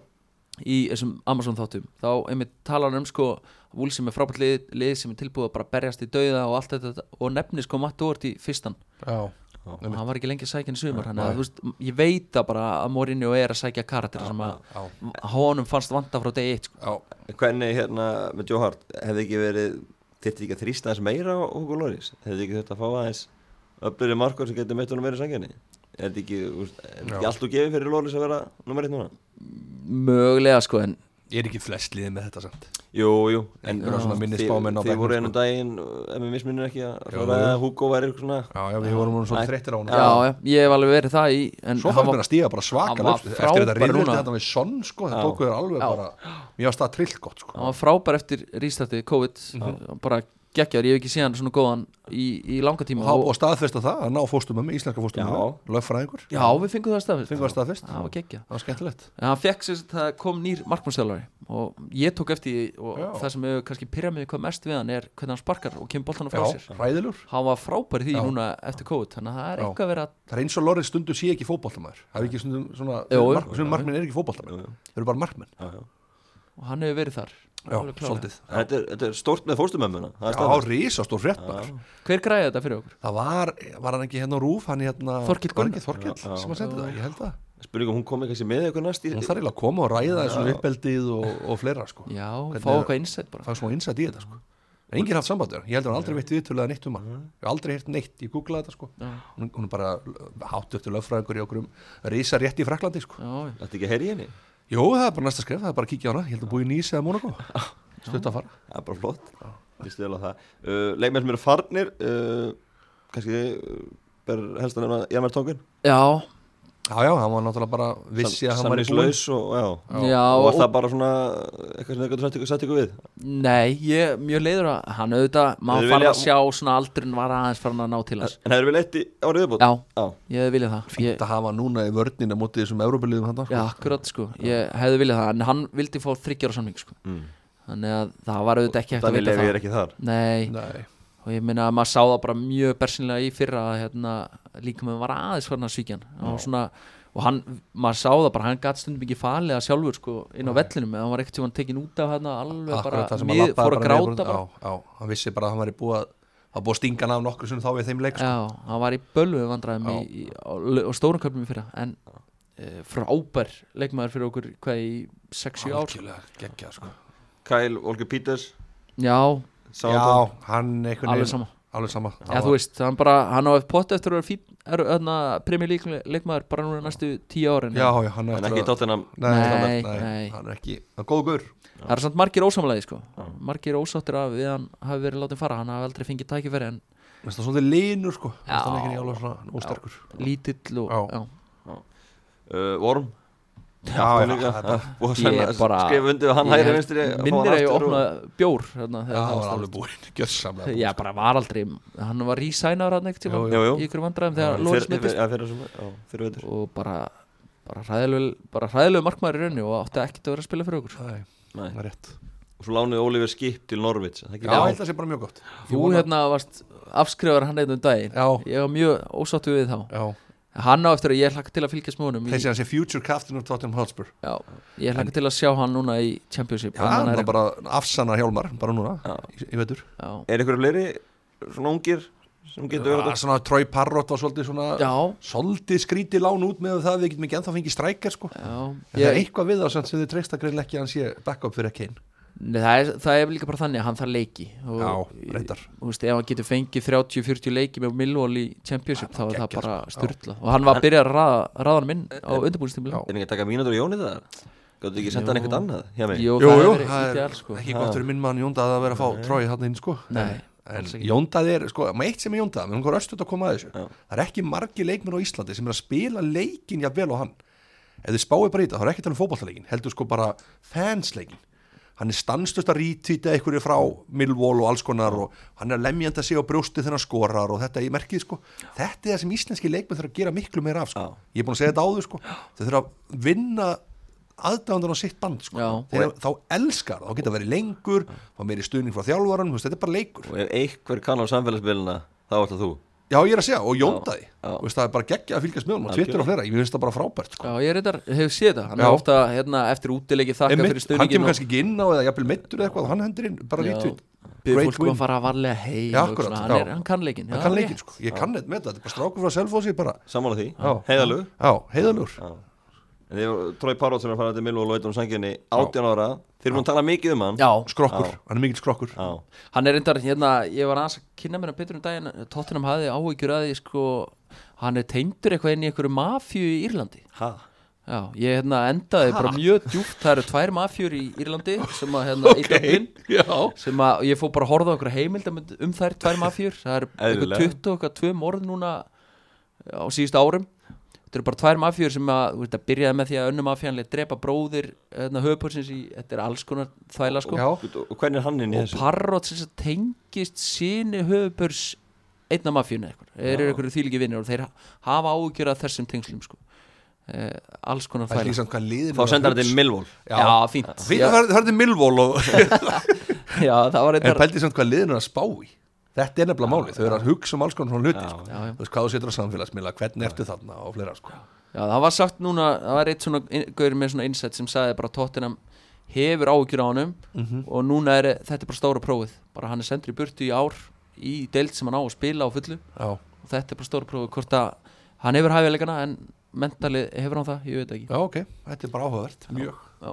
C: í þessum Amazon þáttum þá einmitt tala hann um sko Wolves sem er frábært lið, lið sem er tilbúið að bara berjast í dauða og allt þetta og nefnir sko Matt Dort í fyrstan
B: Já,
C: og
B: Einmitt.
C: hann var ekki lengi að sækja hann í sumar þannig
B: Nei.
C: að þú veist, ég veit það bara að Mourinho er að sækja karakter sem að
B: já,
C: honum fannst vanda frá degi eitt sko.
B: já
A: hvernig hérna með Joe Hart hefði ekki verið þyrfti ekki að þrýsta aðeins meira á Hugo Loris hefði ekki þurft að fá aðeins öflöri markor sem getur meitt honum verið sanginni er þetta ekki, þú veist, er þetta ekki
B: Já.
A: allt og gefið fyrir Loris að vera nummer eitt núna
C: mögulega sko en
B: Ég er ekki flest liðið með þetta samt
A: Jú, jú,
B: Einhverja svona minni
A: þið-
B: spámenn á
A: Þið
B: bekknum,
A: voru
B: sko.
A: einum daginn, uh, ef við misminum ekki að
B: Jú,
A: Húko
B: jú.
A: að Hugo væri eitthvað svona
B: Já, já, við vorum svona
A: Æ.
B: þreyttir á hún
C: já, já, ég hef alveg verið það í en
B: Svo
C: hann
B: fannst mér að stíga bara
C: hann
B: svakalega
C: var
B: upp. Eftir þetta
C: frábær
B: rýður
C: núna.
B: þetta með sonn sko Það
A: Já.
B: tóku þér alveg
C: Já.
B: bara Mjög að stað trillt gott sko
C: hann var frábær eftir rístartið COVID eh, bara geggjar, ég hef ekki séð hann svona góðan í, í langa
B: Og
C: tíma
B: þá- og staðfesta það að ná fóstum með mig, íslenska fóstum með
A: Já.
B: mig Löffræðingur,
C: já, við fengum það staðfest
B: fengur að staðfest
C: það var geggja
B: Það var skemmtilegt
C: en hann fekk sér að það kom nýr markmannstjálfari og ég tók eftir því og
B: Já.
C: það sem hefur kannski pyrrað mig hvað mest við hann er hvernig hann sparkar og kemur boltanum frá sér
B: Já, ræðilur
C: hann var frábær í því
B: Já.
C: núna eftir COVID þannig að það er
B: Já.
C: eitthvað að vera
B: Það er eins og Lórið stundu sé ekki fótboltamæður Það er ekki stundum svona
C: Jú, jú.
B: mark, Sum markmenn er ekki fótboltamæður Þeir eru bara markmenn
A: Já, já.
C: og hann hefur verið þar
B: Já,
C: Alveg klárlega.
B: svolítið
A: Þetta er, þetta er stórt með fórstumömmuna
B: Já, risastór frétt bara
C: hver græði þetta fyrir okkur?
B: Það var, var hann ekki hérna á rúf Hann hérna
C: Þorkell
B: var
C: Gunnar.
B: ekki Þorkill
A: Já, já.
B: sem að senda það, ég held það
A: Spurning um hún komið kannski með eitthvað næst í
B: Hún þarf eiginlega að koma og ræða þessum uppeldið og, og fleira sko
C: já,
B: Hvernig
C: fá
B: er-
C: eitthvað innsætt bara
B: Fá smá innsætt í þetta sko En enginn haft samband við hann, ég held að hann aldrei veitt viðtölulega neitt um hann Ég hef aldrei heyrt neitt, ég googlaði þetta sko
C: Já.
B: Hún, hún er bara hátt upp til löffræðingur í okkur um Rísa rétt í Fraklandi sko
C: já, já.
A: Þetta ekki að heyri henni
B: Jó, það er bara næsta skref, það er bara að kíkja á hana Ég held að búi í Nýs eða Monaco Stutt að fara
A: Það er bara flott Ég stil á það uh, Leikmenn sem eru farnir uh, Kannski uh, ber helst að nefna Jarmar Tóngun
C: Já,
B: já, já, hann var náttúrulega bara vissi að hann var í búin
A: samningslaus og já
D: Já,
A: og var
D: og,
A: það bara svona eitthvað sem þau gætu sett ykkur, sett ykkur við
C: Nei, ég er mjög leiður að hann auðvitað Má
A: Þau
C: fara
A: vilja-
C: að sjá svona aldurinn var aðeins farin að ná til hans
A: en hefur við leitt í árið viðbútt
C: Já,
A: Já.
C: ég hefði viljað það ég,
B: Fínt að hafa núna í vörnina mútið þessum Európa-liðum hann
C: Já, akkurat sko, ég hefði viljað það En hann vildi fá þryggjara samning sko
A: Mm.
C: Þannig að það var auðvitað ekki hægt að
A: Daniel
C: vita
A: Levy er
C: það
A: ekki þar
C: Nei,
B: Nei,
C: og ég meina að maður sá það bara mjög bersinlega í fyrra að hérna, líka með var aðeins farin að svíkja hann og, svona, og hann, maður sá það bara hann gat stundum ekki falið að sjálfur sko, inn á vellinum eða hann var ekkert sem hann tekin út af hérna alveg
B: akkurat það
C: bara,
B: sem að
C: mið,
B: lappaði
C: fór að
B: bara niður
C: gráta bara.
B: brún- Já, já, hann vissi bara að hann væri búið að Það var búið að stinga hann af nokkru sem þá við þeim leik sko.
C: Já, hann var í bölvu vandræðum
B: Já.
C: í, í, á, l- á stórum köpnum í fyrra en e, frábær leikmaður fyrir okkur hvað í 6-7 ár sko.
B: Algjörlega geggjað, sko.
A: Kyle, Olga Peters
C: Já,
A: Southampton.
B: Já, hann einhvern
C: alveg sama
B: Alveg sama
C: Já, þú veist, hann bara, hann á pott eftir að vera fín, er, hérna, öðna, premjör leikmaður bara núna næstu 10 árin
B: Já, já, hann
A: en
B: eftir
A: ekki í
B: að-
A: Tottenham
C: Nei,
B: nei,
C: nei.
B: hann er ekki hann er góð gaur
C: Það er samt margir ósamlega sko. Margir ósáttir af við hann hafi verið látið fara Hann hafi aldrei fengið tækifæri en
B: Mér finnst það svolítið linur sko Mér finnst
C: Já.
B: hann ekki alveg svona ósterkur
C: lítill og,
B: Já.
A: uh, Worm
B: Já, já,
A: líka.
B: það er bara-
A: og
C: Ég
A: senna-
C: bara-
A: skrifa undir hann hægri vinstri fá hann
C: Minnir að ég
A: aftur
C: opna
A: og-
C: bjór þarna,
B: Já,
C: þegar
B: það var
C: það
B: alveg búinn sko. Gjössamlega
C: Já, bara var aldrei Hann var rísænaður hann ekkert
B: Jú,
C: tíma
A: jú, jú.
C: Í ykkur vandræðum þegar
A: Fyr-
C: Lóris
A: fyrir-
C: mittist
A: já, fyrir sumar, já, fyrir vetur.
C: Og bara bara hræðilegu, bara hræðilegu markmaður í raunni og átti ekkert að vera að spila fyrir okkur
B: Nei,
A: Nei.
B: það er rétt
A: og svo lánuði Oliver Skip til Norvits
B: Já, ég held að það sé bara mjög gott Ég
C: Þú
B: vona-
C: hérna varst afskrifar hann einn um daginn
B: Já,
C: Ég var mjög ósáttu við þá
B: já
C: Hann á eftir að ég hlakka til að fylgjast með honum í-
B: Þessi hann sé future captain of Tottenham Hotspur
C: Já, ég hlakka til að sjá hann núna í Championship
B: Já,
C: ef hann
B: hann
C: er-
B: var bara afsanna hjálmar Bara núna, í, í veitur
C: já.
A: er ykkur fleiri svona ungir sem getur verið
B: Svona Troy Parrott var svolítið svona
C: já,
B: Svolítið skríti lán út með það að Við getum ekki ennþá fengið strækjar sko
C: já
B: En Það er
C: ég,
B: eitthvað við það samt sem þið treysta greinlega ekki að hann sé backup fyrir Kane
C: nei, það, er, það er líka bara þannig að hann þarf leiki og,
B: Já, reyndar
C: Þú veist, ef hann getur fengið 30-40 leiki með Millwall í Championship þá er það
B: geggjað,
C: bara
B: sko.
C: styrla og hann var að byrja að raða, raðan minn á undirbúinstimli
B: Já.
A: er ekki að taka mínútur í Jóni það gáttu ekki að senda hann eitthvað annað hjá mig
C: Jú,
B: Jú,
C: það
B: jú,
C: hefur verið
B: það er
C: ídjál sko
B: ekki gott fyrir minn mann Jóndað að vera að fá tróið hann inn sko
C: Nei,
B: en
C: alls ekki.
B: Jóndað er, sko, maður eitt sem er Jóndað mér langar östut að koma að þessu
A: Já.
B: það er ekki margi leikmenn á Íslandi sem er að spila leikin jafnvel á hann ef þið spáið bara í þetta, þá er ekki að tala um fótballtaleikin heldur sko bara fansleikin hann er stanslust að rítýta einhverju frá Millwall og alls konar og hann er lemjandi að segja á brjósti þegar hann skorar og þetta ég merkið sko, þetta er það sem íslenski leikmenn þurfa að gera miklu meira af sko,
A: Já.
B: ég er búin að segja þetta áður sko þau þurfa að vinna aðdæðandur á sitt band sko,
C: Já.
B: þegar þá elskar það, þá geta verið lengur fá meiri stuðning frá þjálfvaran, þetta er bara leikur
A: og ef einhver kann á samfélagsmiðluna þá ætla þú
B: Já, ég er að segja, og jóndaði
A: Já, já.
B: Veist, Það er bara geggja að fylgjast með honum og
A: Algjörlega.
B: Twitter og fleira, ég finnst það bara frábært sko.
C: Já, ég reyndar, hefur séð það Hann
B: Já.
C: er ofta hérna, eftir útileiki þakka
B: Einmitt,
C: fyrir
B: Hann
C: stöðningin
B: kemur kannski ekki inn á eða jafnvel meittur eða eitthvað og hann hendur inn, bara rítvitt
C: Byrðu
B: Great
C: fólk um
B: win.
C: að fara varlega heim
B: sko. Já,
C: og
B: akkurat,
C: svona.
B: já.
C: hann, er, hann kann leikin
B: Hann kann leikinn, sko, ég kann þetta með þetta, þetta er bara strákur frá selfósi bara,
A: sammála því,
B: Já.
A: heiðalög
B: já, heiðalur
A: en þið voru Trói Párótt sem er að fara til Milvo og Lóitun Sanginni 18 ára, þeir eru búin að tala mikið um hann
C: Já,
B: Skrokkur,
A: Já.
B: hann er mikill skrokkur
A: já,
C: Hann er reyndar, hérna, ég var aðeins að kynna mér að betur um daginn, Tottenham hafði áhyggjur að því, sko, hann er tengdur eitthvað inn í einhverju mafju í Írlandi.
A: ha
C: Já, ég hérna endaði bara mjög djúpt, það eru tvær mafjur í Írlandi sem að, hérna, okay. Dublin,
B: Já,
C: sem að ég fór bara að horfa okkur heimildamönd um þær tvær mafjur, það eru
A: Eðlilega.
C: eitthvað 20 og eitthvað 2 morð núna á síðustu árum. Þetta eru bara tvær mafjur sem að, þú veist, að byrjaði með því að önnu mafjanlega drepa bróðir, hérna, höfupörsins í, þetta er alls konar þvæla, sko
B: já,
A: og hvernig er hann inn í
C: og
A: þessu
C: Parrot sem sagt tengist síni höfubörs einna mafjunni eitthvað, þeir eru eitthvað þýliki vinnir og þeir hafa áhugjur að þessum tengslum sko. eh, alls konar
B: það er
C: þvæla
B: líka samt hvað liðin
A: þá senda hann til Milvo
B: Já,
C: já, fínt
B: Fínt
C: já,
B: að það er til Milvól og
C: já, það var
B: En
C: eitthvað
B: pældi samt hvað liðin er að spá í Þetta er nefnilega málið, þau eru að hugsa um alls konar svona hluti
A: Já,
B: sko.
C: já, já.
B: Þú veist hvað þú setur á samfélagsmiðla, hvernig ertu þarna og fleira sko.
C: já, það var sagt núna, það var eitt svona inn- gaur með svona inset sem sagði bara Tottenham hefur áhugjur á honum og núna er þetta er bara stóra prófið bara hann er sendur í burtu í ár í deild sem hann á að spila á fullu
B: Já,
C: og þetta er bara stóra prófið hvort að hann hefur hæfilegana en mentalið hefur hann það, ég veit það ekki
B: Já, ok, þetta er bara áhugavert Mjög
C: já.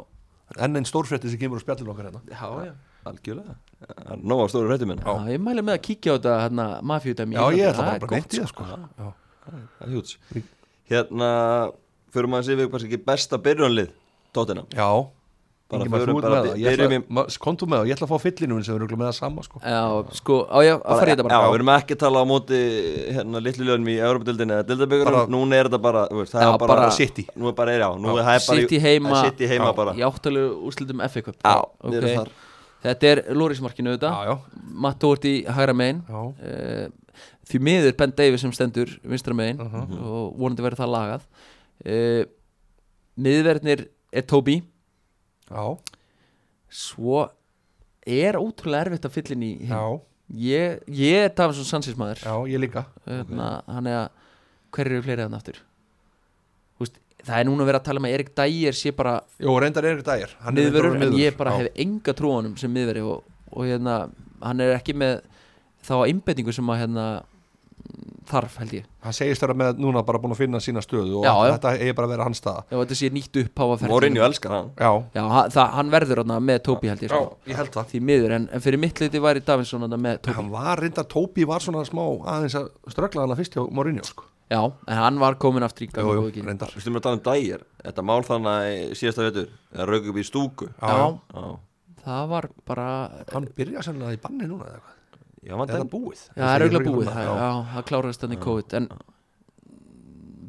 B: Enn einn stórfrétti sem kemur á spjallinu okkar hérna
C: Já, já.
A: algjörlega, það er nóg á stóru hrættum minna
C: Já, ég mæli með að kíkja á þetta hérna, mafjúdæmi
B: Já, ég ætla bara að beint í það sko Já,
A: það er hjúts hérna, förum að sé við kannski ekki besta byrjunlið Tottenham
B: já
A: bara
B: Ingimar, þú
A: förum
B: ert
A: bara
B: með
A: by-
B: það. Ég
A: byrjum í
B: ætla- ma- Kontu með það, ég ætla að fá fyllinu minn sem við erum með það sama sko.
C: Já, sko, á ég að fara í þetta
A: e- Já, við
C: bara
A: erum ekki að tala á móti hérna litlu lögum í Európa-dildinni eða
B: Bara-
A: dildabyggurum, núna er þetta bara, þú veist, það
C: Já,
A: er bara,
C: bara-
B: City.
A: nú er bara, já, nú er það er bara í-
C: City heima
A: það er City heima bara
C: Í áttalegu úrslitum FA Cup
A: Já,
C: Ok.
A: við erum hérna. þar.
C: Þetta er Lórismarkinu
B: Já,
C: auðvitað
B: já,
C: Matt Doherty hægra megin
B: já.
C: uh, því miður Ben Davies sem stendur vinstra megin
B: Mhm.
C: og vonandi verður það lagað uh, miðverðnir er Tobi
B: já.
C: svo er ótrúlega erfitt að fylla inn í hinn.
B: já.
C: ég, ég er Tafinson Sanchez maður
B: já ég líka
C: Þarna, hann er að hver eru fleiri þannig aftur Úst, það er núna verið að tala með Erik Dyer sé bara
B: Jó, reyndar er eitthvað dægir
C: miðverur en ég bara hef enga trú á honum sem miðveri og, og hérna, hann er ekki með þá einbetningu sem að hérna, þarf held ég
B: Hann segist vera með núna bara búin að finna sína stöðu og
C: Já, já.
B: þetta eigi bara að vera hans staða
C: ef þetta sé nýtt upp á að
A: Mourinho elskar hann
B: Já,
C: Já, hann, það, hann verður hann með Tóbi held ég
B: já
C: sko.
B: ég held það
C: Því miður, en, en fyrir mitt liti væri Davinsson hann með Tóbi
B: Hann var reyndar, Tóbi var svona smá aðeins að ströggla hana fyrst hjá Mourinho sko.
C: Já, en hann var komin aftur í gang
B: Jú, jú,
C: og ekki.
B: reyndar
A: Við stum að tala um dægir, þetta mál þannig síðasta vetur, það rauk upp í stúku
B: Já, já.
C: Já,
A: Já,
C: það var bara
B: Hann byrja sennilega í banni núna eða eitthvað
A: já, mann
B: Er það
A: dæmi
B: búið?
C: Já, það er
B: Ég
C: auðvitað
B: ekki
C: búið
B: um
C: það-
B: það.
C: Já, það kláraðist hann í COVID En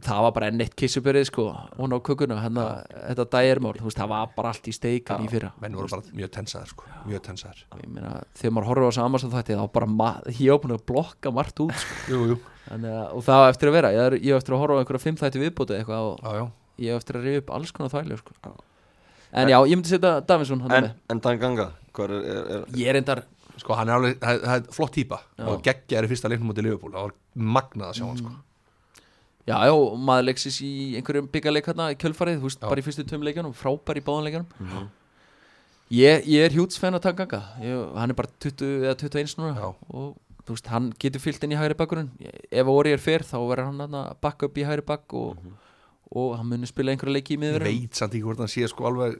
C: það var bara enn eitt kissubyrðið sko Hún á kökuna, hérna, þetta dægirmál Þú veist, það var bara allt í steikan í fyrra
B: Menn voru bara mjög tensaðir sko, mjög tensaðir
C: Ég meina, þegar maður horfir á saman sem þetta Þá bara, ma- ég var búin að blokka margt út sko.
B: Jú, jú,
C: Þannig að, Og það var eftir að vera Ég er- ég var eftir að horfa á einhverja fimm þætti viðbóti eða eitthvað og,
B: já, já
C: ég hef eftir að rifja upp alls konar þvælu sko. en já, ég myndi setja Davinsson hann
A: En,
C: með
A: en Tanganga, hvað er, er, er
C: ég er endar,
B: Sko, hann er alveg, það það er flott típa og geggja er í fyrsta leiknum mútið Liverpool það var magnað að sjá hann sko
C: Mm. já, já, maður leiksis í einhverjum byggaleik hérna í kjölfarið, þú veist,
B: Já. Mhm.
C: bara í fyrstu tömleikunum frábær í báðanleikunum ég, ég er hjúts fenn að taka ganga hann er bara 20 eða 21 núna
B: Já.
C: og þú veist, hann getur fyllt inn í hægri bakkurinn ef Ori er fyrr, þá verður hann þarna að bakka upp í hægri bakk og, og hann munir spila einhverja leiki í
B: Ég
C: miðverðinum
B: Mhm. veit samt ekki hvort hann sé sko alveg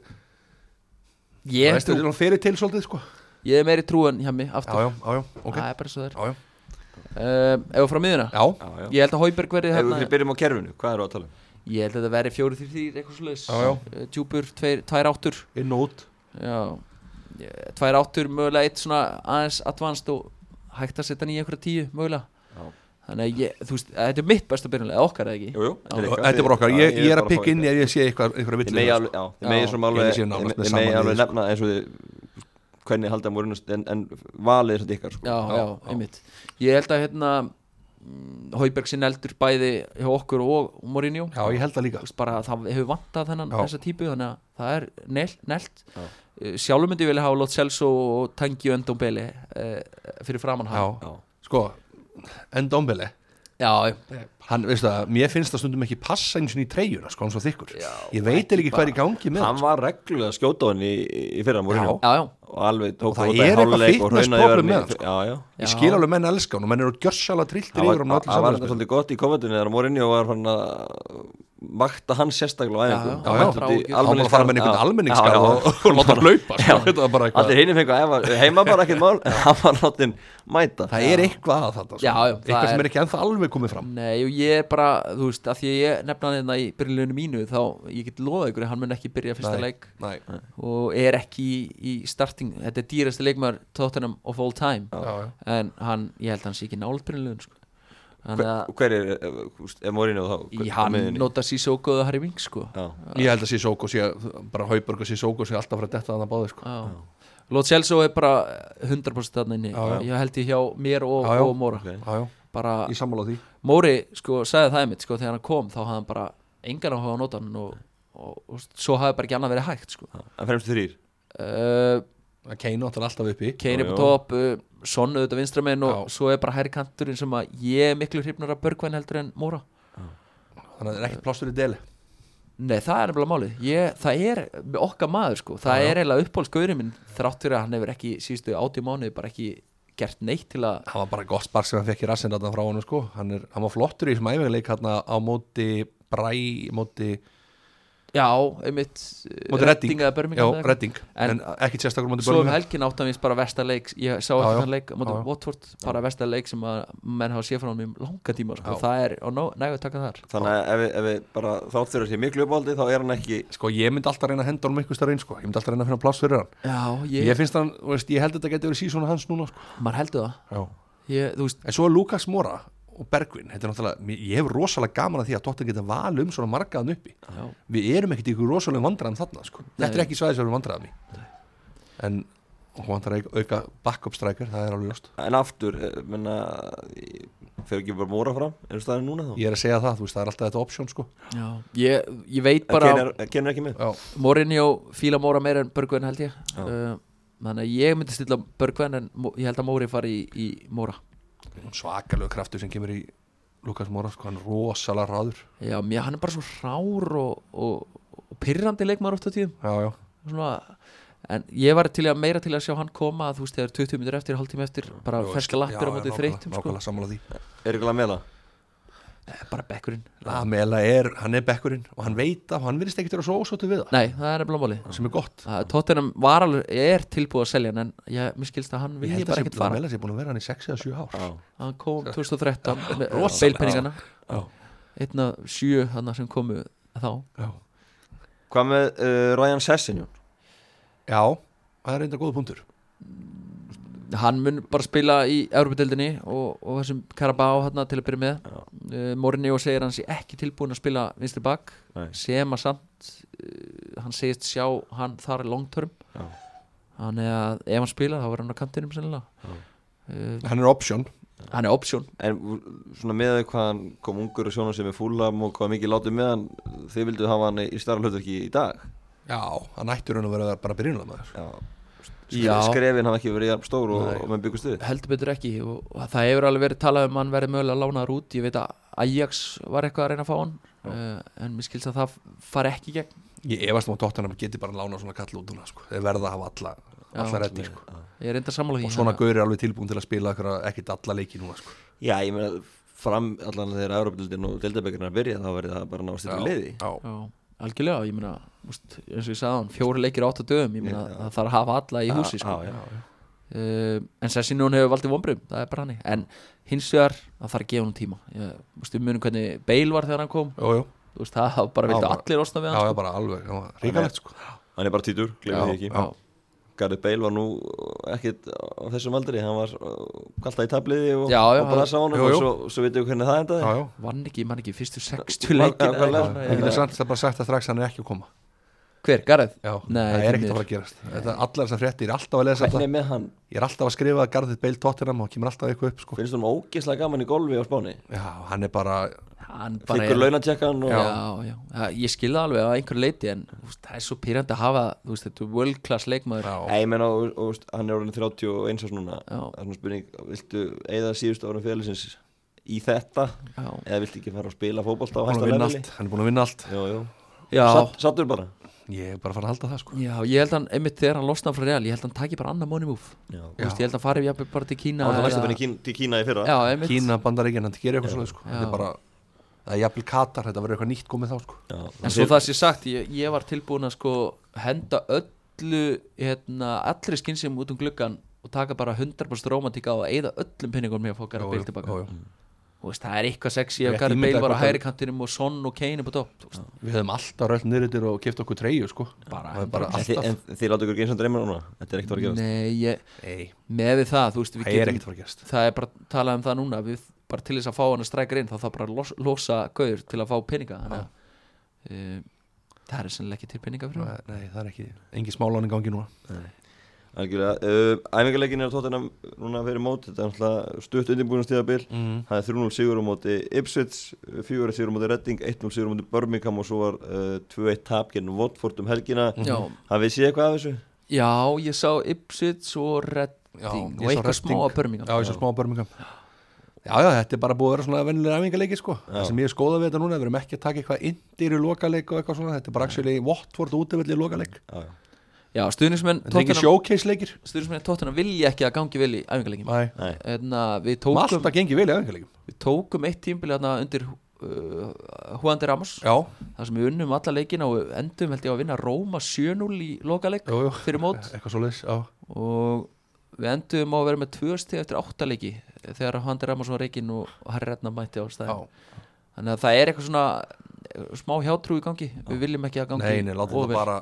C: ég,
B: veistu,
C: trú-
B: hann fyrir til svolítið sko
C: ég er meiri trúan hjá mig
B: Já,
C: aftur,
B: já, já, já, ok
C: það er bara svo þær
B: Já, já,
C: um, ef við frá miðuna
B: já,
A: Já, já
C: Ég held að Hauberg verði
A: Ef
C: hérna
A: við byrjum á kerfinu, hvað eru að tala um?
C: Ég held að þetta verði fjóri þrjú þrjú eitthvað slags
B: Já, já.
C: Djúpur, tveir, tvær áttur
B: inn og út
C: Já Ég- Tvær áttur, mögulega eitt svona aðeins advanced og hægt að setja hann í einhverja tíu mögulega
A: Já.
C: Þannig að ég, þú veist, þetta er mitt besta byrjunlega, okkar eða ekki
A: Jú, jú,
C: Já.
A: ykkar.
B: Þetta er bara okkar,
A: Já,
B: ég, ég er
A: bara
B: að pikka
A: fá
B: inn
A: ykkar.
B: ef ég sé eitthvað, einhverja sko.
A: Þið megi
B: villir
A: alveg, já,
C: Já.
A: þið megi svona
B: Ég
A: alveg
B: sé nánast með
A: Þið megi
B: saman
A: alveg
B: liði, sko.
A: nefna eins og þið hvernig halda múrinu en, en valið þess að ykkar sko.
C: já, já, einmitt Ég held að hérna mm, Hauberg sinn eldur bæði hjá okkur og Mourinho
B: Já, ég held það líka sko.
C: Þú veist, bara það hefur vantað þennan
B: Já.
C: þessa típu þannig að það er nel- nelt
A: Já.
C: Eh, sjálfur myndi ég vilja hafa Lót Selso og Tangi og Endombele fyrir framann
B: Já,
C: hann
A: Já.
B: sko, en Dombele
C: já,
B: Hann, veistu það, mér finnst það stundum ekki passa eins og í treyjuna, sko, hann er svo þykkur Ég veit eiginlega ekki hvað er í gangi með hann,
A: Hann var reglulega að skjóta á henni í, í fyrra múrinu
C: já, já,
A: og alveg tók
B: Og
A: út
B: það
A: að
B: er eitthvað
A: hálfleik og
B: fitness
A: hraunaði
B: problem
A: í
B: með
A: vörn
B: hann,
A: í-
B: sko.
A: Já, já
B: Ég skil alveg menn elska hann og menn eru gjörsala trilltir
A: Það var
B: yfir hann á
A: það
B: öllu sko.
A: var
B: samfélagsmiðlum.
A: þetta svolítið gott í komendinu þegar Mourinho var hann að vakta hann sérstaklega á æfingu
C: Já, já,
A: Hann mætti
C: já,
A: út í
C: já, já.
B: hann bara að fara með
A: almenningsgarð. Já,
B: einhvern almenningskar
A: já, já.
B: og, og láta hann hlaupa sko. þetta var bara eitthvað
A: Allir hinni fengu að æfa heima bara ekkert mál en hann var látin mæta
B: það er eitthvað að þetta sko.
C: Já, já, það
B: eitthvað sem
C: er-
B: er ekki ennþá alveg komið fram
C: nei og ég er bara þú veist, að því að ég nefna hann hérna í byrjunleginu mínu þá ég get loðað ykkur að hann mun ekki byrja fyrsta
B: Nei,
C: leik
B: nei.
C: og er ekki í, í starting þetta er dýrasti leikmaður Tottenham of all time
B: Já, já.
C: en hann, ég held að hann sé ekki nált byrjunleginu sko.
A: Hver-
C: þannig að
A: Hver er, eh, er Mourinho þá? Hver-
C: í
A: á
C: hann
A: miðjunni?
C: nota Sissoko og Harry Winks sko.
A: Já.
B: ég held að Sissoko sé bara Hauberg og Sissoko sé alltaf að fara að detta þannig að báði sko.
C: Lót Selso er bara 100% þarna inni
B: Já, já.
C: ég held ég hjá mér og,
B: Já, já.
C: og Móra
A: Ok.
B: já, já,
C: bara,
B: ég sammála því
C: Móri sko sagði það einmitt sko þegar hann kom þá hafði hann bara engan áhuga á notan og, og, og svo hafði bara ekki annað verið hægt sko
A: En fremstu þrýr
C: uh,
B: að Keino átti alltaf uppi
C: Kane
A: Já,
C: er
A: já.
C: på topp uh, Son auðvitað vinstramenn og
B: Já.
C: svo er bara hæri kanturinn sem að ég er miklu hrifnur af Börgvæn heldur en Móra
B: þannig að það er ekkert plástur í deli
C: Nei, það er nefnilega málið ég, Það er okkar maður sko Það er eiginlega uppbólskaurinn minn þrátt fyrir að hann hefur ekki síðustu átjum mánuði bara ekki gert neitt til að
B: það var bara gott spark sem hann fekk í rassin þarna frá honum sko. hann, er, hann var flottur í þessum æfingleik hérna á móti bræ, móti
C: já, einmitt
B: Móti Reading.
C: eða Birmingham
B: já,
C: eða eitthvað.
B: redding, en,
C: En-
B: en ekkit sérstakur mútið
C: Svo um
B: börnum
C: helgin áttan við bara versta leik Ég
B: Já,
C: sá ekki
B: já.
C: þann leik á móti
B: Já, já.
C: Watford bara versta leik sem að menn hafa séð frá hann í langa tíma sko.
B: Já.
C: það er á nó- nægu að taka þar
A: Þannig að ef við, ef við bara þátt þurfa sér miklu uppáldi þá er hann ekki
B: sko ég myndi alltaf reyna að henda honum ykkur starf einn sko. ég myndi alltaf reyna að finna pláss fyrir hann
C: Já,
B: ég,
C: ég,
B: finnst hann, þú veist, ég held að þetta geti verið sísónu hans núna sko.
C: maður heldur það ég, Þú veist,
B: en svo er Lukas Mora og Bergvin þetta er náttúrulega, mér- ég hef rosalega gaman að því að Dóttir geta val um svona margaðan uppi
C: já,
B: við erum ekkert ykkur rosalega vandræðan þarna sko. þetta er ekki svæðis að við erum vandræðan í en hún vantar að auka backup striker, það er alveg ljóst
A: en aftur, eh, menna fer ekki bara Móra fram, er staðin núna þá
B: ég er að segja það, þú veist, það er alltaf þetta option sko.
C: já. Ég, ég veit
A: bara
C: bara
A: kenir, kenir eh, ekki með
B: já,
C: Mourinho fíla Móra meira en Börgven held ég
A: Já.
C: uh, Þannig að ég myndi stilla Börgven en Mo- ég held að Móri fari í, í Móra
B: svakalegu kraftur sem kemur í Lukas Mora, sko, hann er rosalega ráður
C: Já, mér, hann er bara svo rár og, og, og pyrrandi leikmaður oft á tíðum
B: já, já,
C: svona, En ég var til að meira til að sjá hann koma þú veist, þegar 20 minnur eftir, hálftíma eftir bara
B: Jú,
C: ferska
B: já,
C: lappir á
B: já,
C: móti
B: nákvæmlega,
C: þreytum sko.
B: nákvæmlega sammála því
A: er ekki að meða
C: Eh, bara bekkurinn
B: Lamela er, hann er bekkurinn og hann veit að hann virðist ekkert vera svo ósóttu við það
C: Nei, það er nefnilega máli
B: sem er gott
C: Það- Tottenham var alveg, er tilbúið að selja hann en ég, mér skilst að hann vil ég bara ekkert fara
B: Lamela sé búin að vera hann í 6 eða 7 ár
C: hann kom 2013 með
B: Rosalega.
C: beilpenningana
B: Já.
C: einn af sjö hann sem komu þá
B: já,
A: hvað með uh, Ryan Sessinjón
B: já það er reynda góða punktur
C: hann mun bara spila í Európa-deildinni og, og þessum Carabao hann til að byrja með
A: Já.
C: uh, Morinni og segir hann sé ekki tilbúin að spila vinstri bak
A: Nei.
C: sem að samt uh, hann segist sjá hann þar long term
A: Já.
C: hann er að ef hann spila þá verður hann á kantinum sennilega
A: Já.
C: uh,
B: hann er option
C: hann er option
A: en v- svona með því hvað hann kom ungur og sjónum sem er fúlam og hvað mikið látið með hann þið vildu hafa hann í starra hlutverki í dag
B: já, hann ættur hann að vera bara byrjunulega maður
A: já.
C: Já.
A: skrefin hafa ekki verið jafn stór og,
B: Nei.
A: og menn byggust við
C: heldur betur ekki og og það hefur alveg verið talað um að hann verið mögulega lánaður út ég veit að Ajax var eitthvað að reyna að fá hann uh, en mér skilst að það fari ekki í gegn
B: ég efast um að Tottenham geti bara lána svona kall út núna sko. þeir verða að hafa alla,
C: Já,
B: alla reddi sko.
C: ég er reynda að sammála því
B: og svona
C: þannig
B: gaur er alveg tilbúin til að spila ykkur- ekkert alla leiki núna sko.
A: já, ég meina fram allan þegar Európa-dildin og dildabekirna byrja þá verið það bara náðast
B: Já,
A: yfir liði
B: já.
C: að- já, algjörlega, ég meina úst, eins og ég sagði hann, fjóri leikir á átta dögum ég meina
A: Já.
C: það þarf að hafa alla í húsi sko.
A: Ah, já, já,
C: uh, en Sessi núna hefur valdið vonbrum það er bara hann en hins vegar það þarf að gefa hann tíma ég, úst, við munum hvernig Bale var þegar hann kom
B: Jú, jú.
C: Þú veist, það hafa bara
B: Já,
C: viltu
B: bara-
C: allir osna við
B: já,
C: hann sko.
B: já, bara alveg ríkalegt sko.
A: hann er bara títur, glemir því ekki Gareth Bale var nú ekkit á þessum aldri, hann var uh, kalltað í tabliði og,
C: Já, já,
A: og bara
C: hann-
A: sá hann
B: jú,
A: og
B: jú.
A: svo, svo veitum við hvernig það endaði
B: já, já.
C: vann ekki, mann ekki, fyrstu 60
A: Var-
C: leikin
A: var- var-
B: ég geti samt að bara sagt það strax að hann er ekki að koma
C: Hver, Gareth?
B: Já,
C: Nei,
B: það
C: því
B: er ekkert að
C: miður.
B: fara að gerast Þetta, Allar þessar fréttir, ég er alltaf að lesa
A: Hvernig
B: þetta
A: er með hann,
B: Ég er alltaf að skrifa að Garðið Beil Tottenham og það kemur alltaf eitthvað upp sko.
A: finnst hún ógislega gaman í golfi á Spáni
B: Já, hann er bara
C: Hann bara
A: Fikkur launatjekkan og
C: Já, já, já, ég skilða alveg á einhverju leiti en þú veist, það er svo pyrrandi að hafa þú veist, þetta er world class leikmaður
B: já,
A: Nei, ég meina, og, og, veist, hann er orðin 31 árs núna
C: Já.
A: Það er svona spurning, viltu eigða síðustu árum félagsins í þetta
C: Já,
A: eða viltu ekki fara að spila fótbolta á
B: búin
A: hæsta
B: að vinna
A: leveli
B: allt Hann er búin að vinna allt
A: Jú, jú.
C: já,
A: Satt, Sattur bara
B: Ég er bara að fara að halda það sko.
C: já, ég held hann einmitt þegar hann losnaði frá Real, ég held hann taki bara annar money move
A: Já,
C: Þú veist, ég held hann farið jafnvel bara til Kína
A: Það var
C: eða-
A: næstu fyrir kín, til Kína í fyrra
C: Já, einmitt
B: Kína, Bandaríkjan, hann gerir eitthvað svona sko.
C: Já.
B: Þetta er bara, það er jafnvel Katar Þetta verður eitthvað nýtt komið þá sko.
A: Já,
C: En svo það sé sagt, ég, ég var tilbúin að sko henda öllu hérna, allri skynsum út um gluggan og taka bara 100% romantíka á að eyða öllum pinningum mér að fá Gareth
B: Jú,
C: Bale
B: jú,
C: tilbaka
B: jú, jú.
C: Þú veist, það er eitthvað sexy ef
B: Rétt
C: Gareth
B: ímyndað
C: Bale var á
B: hvort
C: hægri kantinum og Son og Kane upp á topp þú veist.
B: Við höfum alltaf röll nýrðir og keft okkur treyju sko. bara, það er bara
A: En, þið,
B: alltaf
A: en þið láta ykkur ekki eins og dreymur núna Þetta er ekkert að fara að gerast
C: Nei, ég,
B: Nei,
C: með við það, þú veist, við
B: það er ekkert að fara að gerast
C: það er bara talað um það núna, við bara til þess að fá hann að strækja inn, þá þarf bara að los, losa gauður til að fá peninga, þannig að um, það er sennilega ekki til peninga fyrir hann.
B: Nei, Nei, það er ekki, engin smáláning gangi núna
A: Algjörlega, uh, æfingarleikin er að tóttina núna fyrir mót, þetta er náttúrulega stutt undirbúinu stíðabil,
B: Mhm.
A: það er 3-0 sigur á móti Ipswich, 4-1 sigur á móti Redding, 1-0 sigur á móti Birmingham og svo var uh, 2-1 tap genn Watford um helgina,
C: Já,
A: hafið þið séð eitthvað af þessu?
C: já, ég sá Ipswich og Redding
B: Já, ég
C: og
B: sá
C: eitthvað
B: Redding.
C: smá að börminga.
B: Já, ég svo smá börmingam Já, já, þetta er bara búið að vera svona vennilega æfingarleiki sko. það sem ég er skóðað við þetta núna, við erum ekki að taka eitthvað indir í lokaleik og eitthvað svona, þetta er bara actually Watford útivill í lokaleik,
A: Já,
C: Já, stuðnismenn
B: þetta er ekki showcase leikir
C: stuðnismenn tóttina vilja ekki að gangi vel í æfingarleikin.
B: Nei,
A: nei,
C: En að við
B: maður
C: tókum,
B: alltaf gengið vel í æfingarleikum
C: við tókum eitt tímbili þarna hérna undir uh, Juan de Ramos
B: já,
C: þar sem við unnum alla leikina og endum held ég að vinna Róma 7-0 í lokaleik
B: jú, jú,
C: fyrir mót
B: eitthvað svo já,
C: og við endum á að vera með tvö stið eftir áttaleiki þegar Juan de Ramos var reikinn og Harry Redna mætti á
B: já.
C: staðin þannig að það er eitthvað svona eh, smá hjátrú í gangi, við viljum ekki að gangi
B: Nei, nei, látum það
C: of vel.
B: bara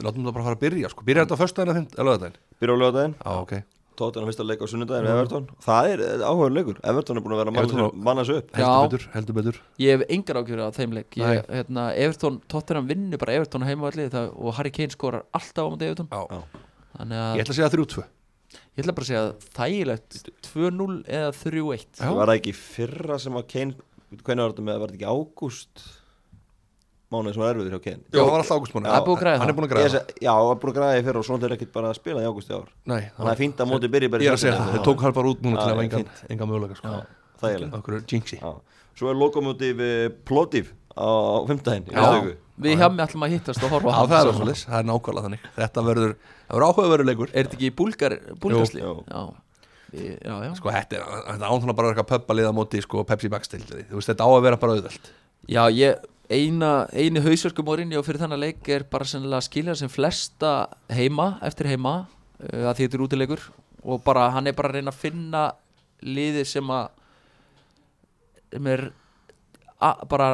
B: látum það bara fara að byrja, sko, byrja þetta á föstudaginn eða fimt, eða lögadaginn
A: Byrja á lögadaginn,
B: Já, ok
A: Tottenham fyrst að leika á sunnudaginn við Everton Það er áhugaður leikur, Everton er búin að vera að manna
B: Everton
A: sig- manna sig upp
C: Já.
B: Heldur betur, heldur betur
C: ég hef engar ákjöfur á þeim leik
B: Nei.
C: ég, hérna, Evertón, Tottenham vinnur bara Evertón heimavalli það, og Harry Kane skorar alltaf á mútið Evertón
B: Já,
C: þannig að
B: ég
C: ég,
B: ætla að segja 3-2
C: ætla bara að segja þægilegt 2-0 eða 3-1
B: Já.
A: Það var það ekki í fyrra sem að Kane Hvernig var þetta með, var þetta ekki ágúst Mánuðið sem var erfiður hjá Kane
B: Jó, það var alltaf águstmáni
C: Það er búið að græða
B: Hann
C: það.
B: er búin að
A: Ég
B: græða
A: seg- Já, það var búin að græða í fyrra og svona er ekkit bara að spila í ágúst í ár
B: Nei,
A: Þannig að fínt að móti byrja
B: Ég er að segja það, þeir tók hann bara út núna
A: Já,
B: til að
A: já,
B: engan, engan mögulega sko.
A: Þægilegt
B: Okkur er jinxi
A: Já. Svo er lokomótið Plotiv á á fimmtudaginn í
C: Já.
A: næstu viku.
C: við hjá mig ætlum að hittast og
B: Já,
C: horfa á hann
B: það er
C: saman.
B: áfælis, það er nákvæmlega þannig Þetta verður, það verður áhugaverulegur
C: er þetta ekki í búlgar, búlgarsli
A: Jú.
C: já. Við- já, já.
B: Sko, þetta er þetta án þannig bara eitthvað pöppa liða móti sko, Pepsi Max til því, þú veist, þetta á að vera bara auðvöld
C: já, ég eina, eini hausverkumorinn og fyrir þannig leik er bara sennilega að skilja sem flesta heima, eftir heima uh, að því þetta er útilegur og bara, hann er bara að reyna að finna liði sem að sem er a, bara,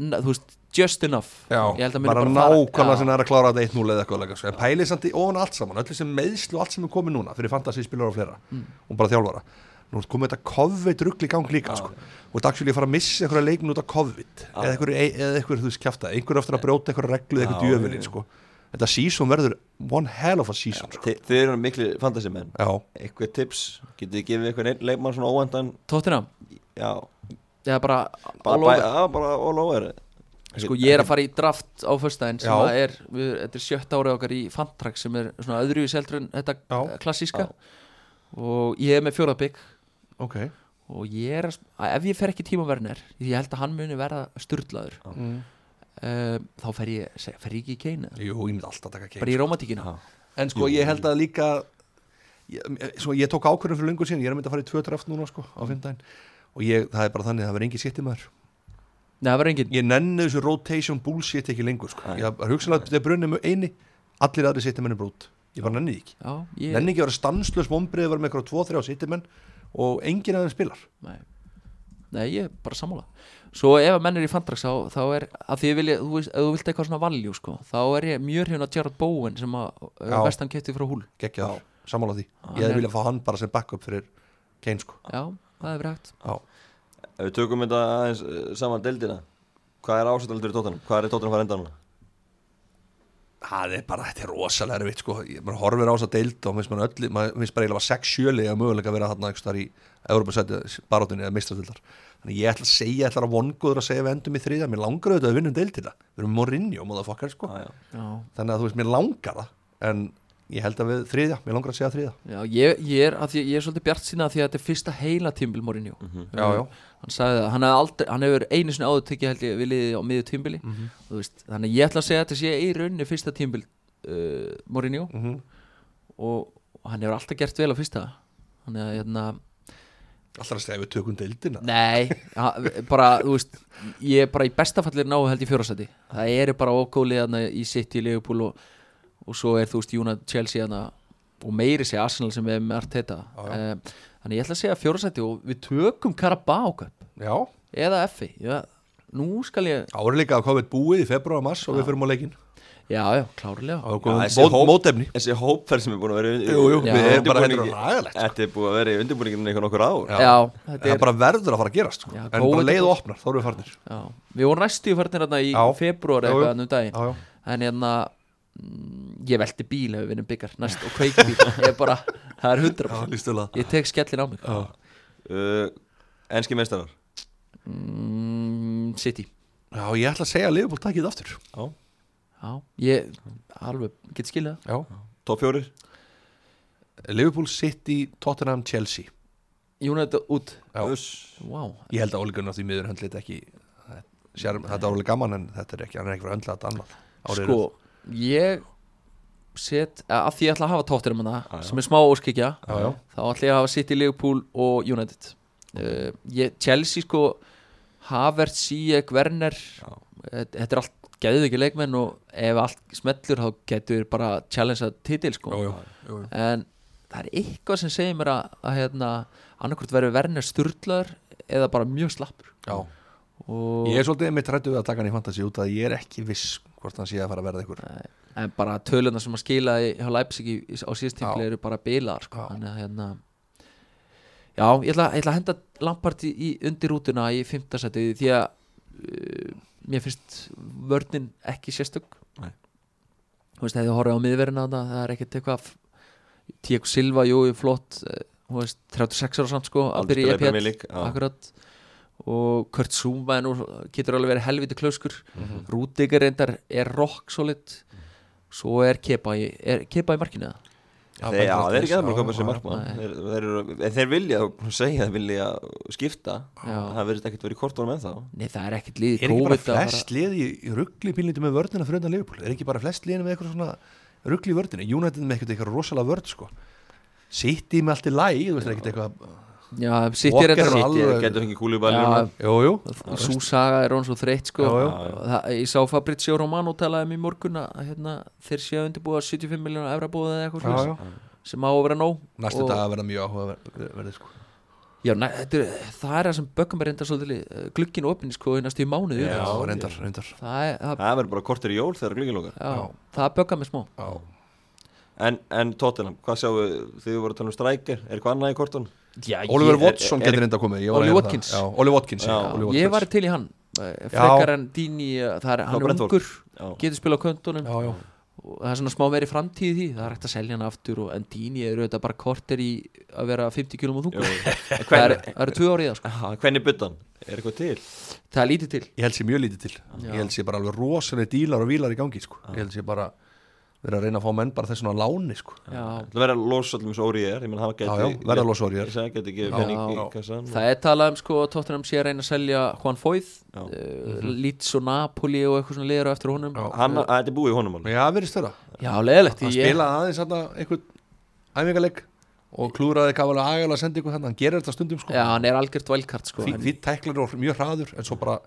C: na, þú veist just enough, ég held að muni
B: bara
C: fara-
B: nákvæmlega
C: Já.
B: sem það er að klára þetta 1-0 eða eitthvað leika, sko. en pælið samt í ofan á allt saman öll sem meðslu allt sem er komið núna fyrir fantasíspilar og fleira
C: Mm.
B: og bara þjálfara nú er komið þetta COVID ruggli í gang líka sko. og þetta actually að fara að missa einhverja leikn út af COVID eða einhverju, eða einhverju þú veist kjafta einhverju aftur að brjóta einhverju reglu eða einhverju djöfulin sko. þetta season verður one hell of a season sko.
A: Þi- Þið eru miklu fantasy menn
B: já,
A: Eitthvað tips, getið þið gefið eitthvað einn leikmann svona óendan
C: Tottenham,
A: Já,
C: það er bara,
A: bara,
C: all over.
A: bara, já, bara all over
C: Sko ég er að fara í draft á föstudaginn sem
B: Já.
C: að er, við, þetta er sjötta árið okkar í Fantrax sem er svona öðru í seldur en þetta
B: Já.
C: Já. klassíska og ég er með fjórðabygg
B: ok
C: og ég er að, sp- að ef ég fer ekki tíma verðnir ég held að hann muni verða styrlaður
B: mm.
C: um, þá fer ég, seg- fer ég ekki í keina
B: jú, ég myndi alltaf taka
C: bara
B: keins
C: í romantíkina
B: en sko ég held að líka ég, svo, ég tók ákvörðum fyrir lungur síðan ég er að mynda að fara í tvö draft núna sko á fimmdæn og ég, það er bara þannig að það verður engin sétti maður
C: Nei, það verður engin
B: ég nenni þessu rotation bullshit ekki lengur sko.
A: Nei.
B: ég er hugsanlega að brunni með eini allir aðri sétti menni brútt ég bara nenni því ekki
C: Já, ég,
B: nenni ekki að vera stanslös vombrið að vera með eitthvað tvo, þrjá sétti menn og engin aðeins spilar
C: nei. nei, ég er bara sammála Svo ef að menn er í Fantrax þá, þá er, að því ég vilja, þú veist, ef þú vilt eitthvað svona valjú sko, þá er ég mjög hrifin að Gerard Bowen sem að
B: Já.
C: vestan kefti frá húl
B: geggja það, sammála því
C: Hann
B: ég
C: er-
B: hefði viljað fá hann bara sem backup fyrir Kane sko
C: Já, það er verið hægt
B: Já.
A: Ef við tökum þetta aðeins eh, saman deildina Hvað er ásættaldur í Tottenham? Hvað er í Tottenham að fara enda núna?
B: Það er bara, þetta er rosalega erfitt sko, ég maður horfir á þess að deild og finnst maður öll, maður finnst bara eiginlega bara 6-7 liða möguleika að vera þarna einhvers þar í Európa-sæti barátunni eða meistratildar. Þannig ég ætla að segja, ég ætla að vongóður að segja við endum í þriðja, mér langar auðvitað að um við vinnum deildina, við erum morinjó, motherfucker sko.
A: Ah, já.
C: Já,
B: Þannig að þú veist, mér langar það, en ég held að við þriðja, mér langar að segja þriðja.
C: ég, ég, er, af því, ég er svolítið bjart sína því að þetta er fyrsta heila tímbil Mourinho
B: Mhm. Já, já.
C: Hann sagði það, hann, hefði aldrei, hann hefur einu sinni áður tekið held ég viljiði á miðju tímbili mm
B: Mhm.
C: veist, Þannig að ég ætla að segja að þetta sé í rauninni fyrsta tímbil uh, Mourinho
B: Mhm.
C: og, og hann hefur alltaf gert vel á fyrsta Þannig að hérna,
B: Alltaf að segja við tökum deildina.
C: nei, ha- bara, þú veist, ég er bara í besta fallir náðu held í fjórasæti Það eru bara ókólið þarna í City, Liverpool og, og svo er þú veist United, Chelsea þarna og meiri sé Arsenal sem er með Arteta
B: já.
C: um, þannig ég ætla að segja fjórasæti og við tökum Carabao Cup
B: Já,
C: eða FI já, nú skal ég,
B: árið líka að COVID búið í februar og mars og við fyrum á leikin.
C: já já, klárlega
B: Og
A: Já,
B: komum
A: þessi
B: mót-
A: hóp-
B: Mótefni.
A: Þessi hópferð sem er búin að vera í-
B: Jú, jú,
A: í
C: við erum
B: bara- þetta er
A: undirbúningi-
B: ræðilegt, sko.
A: Þetta er búin að vera í undirbúninginu einhvern okkur ár
C: já, þetta
B: Það
C: er
B: bara verður að fara að gerast, sko.
C: Já,
B: en
C: COVID
B: bara
C: er
B: leið
C: búið.
B: og opnar, þá erum við farnir.
C: já. við vorum næstu færðin hérna í
B: Já.
C: februar
B: Jú, jú.
C: eitthvað hann um daginn
B: Já, já.
C: en hérna mm, ég velti bíl ef við vinnum byggar næst og kveiki bíl, ég er bara það er hundra,
B: Já, lístulega
C: ég tek skellin á mig
A: uh, Enski meistarar
C: mm, City
B: Já, ég ætla að segja að Liverpool takið aftur
C: já, ég alveg get skilja
B: Já
A: Top fjórir
B: Liverpool, City, Tottenham, Chelsea
C: United út,
B: Já.
A: Uss.
C: wow
B: Ég held að Ole Gunnar því miður höndli þetta ekki Sér, Þetta er alveg gaman en þetta er ekki hann er ekki frá að höndla þetta annað árið
C: sko,
B: í röð.
C: ég set, að því ég ætla að hafa tóttir um
A: Já,
C: hana
A: já.
C: sem er smá óskikja
B: Já, já.
C: þá ætla ég að hafa City, Liverpool og United uh, ég, Chelsea Eh, sko Havert, Sijek, Werner eh, þetta þetta er allt geðviki leikmenn og ef allt smellur þá getur við bara challengea titil sko
B: Jú, jú, jú, jú.
C: en það er eitthvað sem segir mér að, að hérna, annarkvort verður Werner styrlaður eða bara mjög slappur
B: Já.
C: og
B: Ég er svolítið mitt rættu við að taka hann í fantasy út að ég er ekki viss hvort hann sé að fara að verða ykkur
C: en bara tölunar sem að skila í- hjá Leipzig í- í- á síðast tímpli
B: Já.
C: eru bara bilaðar sko.
B: Já.
C: þannig að hérna já, ég ætla, ég ætla að henda Lampard í, í undir rútuna í fimmtasæti því að uh, mér finnst vörnin ekki sérstök
B: Nei.
C: þú veist, ef þið horfið á miðverðina þarna, það er ekkert eitthvað Tík Silva, jú, er flott eh, þú veist, 36 ára samt sko að byrja í EPL
A: EPL
C: akkurat og Kurt Zuma nú getur alveg verið helviti klauskur
A: Mhm.
C: Rúdiger reyndar er rock solid svo er Kepa í, er Kepa í markinu eða?
A: Já, þeir eru ekki aðeins að koma sér
C: Nei.
A: markmann þeir, þeir, eru- ef þeir vilja, þá segja þeir vilja skipta,
C: Já.
A: það verður ekkert verið í kortunum ennþá
C: Nei það er ekkit líði
B: Er ekki bara flest liði í, í ruggli pínlítið með vördina fyrir undan Liverpool? Er ekki bara flest liðin með eitthvað svona ruggli í vördina? United með eitthvað eitthvað rosalega vörd sko City með allt í læg, þú veist ekkert eitthvað
C: Já, sitt
B: Walker
C: er þetta
B: er
A: City
B: alveg-
A: getur fengið kúlubæli
C: Já,
B: Jú, jú
C: Sú saga er hún svo þreytt sko
B: Já, já.
C: Það, Ég sá Fabrizio Romano talaði um í morgun að hérna, þeir séu að undirbúa 75 miljonar evra búið eða eitthvað
B: Já,
C: svoleiðis,
B: já.
C: sem á að vera nóg
B: Næstu
C: Og-
B: dag að verða mjög áhugaverði sko
C: Já, næ, þetta, er- það er það sem böggum er reyndar svolítið eh, glugginn opinn sko í næstu í mánuð
B: Já, reyndar, reyndar
C: það, er- það,
A: það verður bara kortir í jól þegar glöggin lókar
C: já, það böggum er smá
B: Já,
A: en, en Tottenham, hvað sjáum við þið voru að tala um strækir, er hvað annað í kortunum?
C: já,
B: Oliver
A: ég-
B: Watson
A: er-
B: getur reynda komið ég var
C: Oli
B: að heyra
C: Watkins.
B: það. Já, Oli Watkins, já,
A: Já.
B: Oli
C: ég
B: Watkins.
C: var til í hann eh, frekar en Dini eh, það er,
A: Frá
C: hann er
A: Brentford.
C: ungur,
A: Já.
C: getur spilað á köntunum
B: Já, já,
C: og það er svona smá meiri framtíð í því það er hægt að selja hann aftur og, en Dini er auðvitað bara korter í að vera 50 km og þungur það eru
A: Hvernig-
C: er tvö árið sko.
A: Ah, hvernig byttan, er eitthvað til?
C: það er lítið til
B: ég held sér mjög lítið til Ég held sér bara alveg rosalega dílar og vílar í gangi sko Ég held sér bara verið að reyna að fá menn bara þessuna láni sko
C: já,
A: Það verður að losa allir eins og órið er, ég menn hafa geti
B: Já, já, verða að losa Ori er.
A: Ég sagði geti gefið
C: Já.
A: penning í
B: Já.
A: kassan
C: það er talað um sko að Tottenham sé að reyna að selja Juan Foyth
A: Já.
C: uh, Leeds og Napoli og eitthvað svona liður á eftir honum
B: Já.
A: Hann, að þetta er búið í honum alveg
B: Já, verið störa
C: já leðilegt
B: hann spilaði aðeins hann einhvern æfingarleik og klúraði kafalega agalega að senda ykkur þannig hann gerir þetta stundum sko
C: já, hann er algjört valkart sko,
B: Fí-
C: en-
B: fínn tæklar og mjög hraður en svo bara,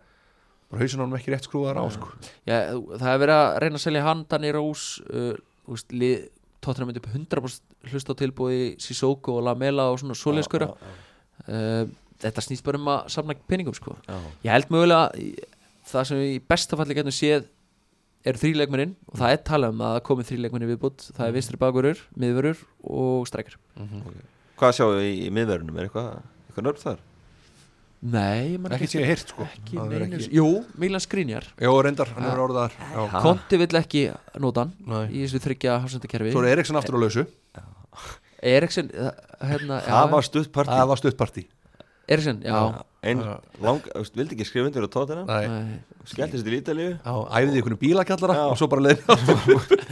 B: bara hausin honum ekki rétt skrúðar á sko.
C: Já, það er verið að reyna að selja hann Danny Rose uh, þú veist, lið, Tottenham myndi upp 100% hlusta á tilbúi Sissoko og Lamela og svona svoleiðskura uh, þetta snýst bara um að safna peningum sko. ég held mögulega að í- það sem við í besta falli getum séð eru þrýleikmennin og það er talað um að það komi þrýleikmennin viðbútt það
B: Mm.
C: er vinstri bakurur, miðvörur og streikar
A: Hvað sjáum við í, í miðverðunum, er eitthvað, eitthvað nörd þar?
C: nei, ég man
B: ekki
C: ekki
B: sé hirt sko.
C: ekki
B: Það er
C: neinu- Ah. jú, Milan Skriniar
B: Jó, reyndar, hann er orðaðar Já.
C: Konti vill ekki nota hann
B: Nei.
C: í þessu þryggja hafsendakerfi
B: Svo er Eriksson aftur á lausu
C: Eriksen eh, hérna, já,
A: Það var stutt partí
B: Það var stuttparti
C: Eriksen, já,
A: Einn lang, þú veist, vildi ekki skrifa undir á Tottenham
B: Æ,
C: já.
A: Skeltist til Ítalíu
B: æfiði ykkur bílakjallara
A: Já.
B: og svo bara leiði aftur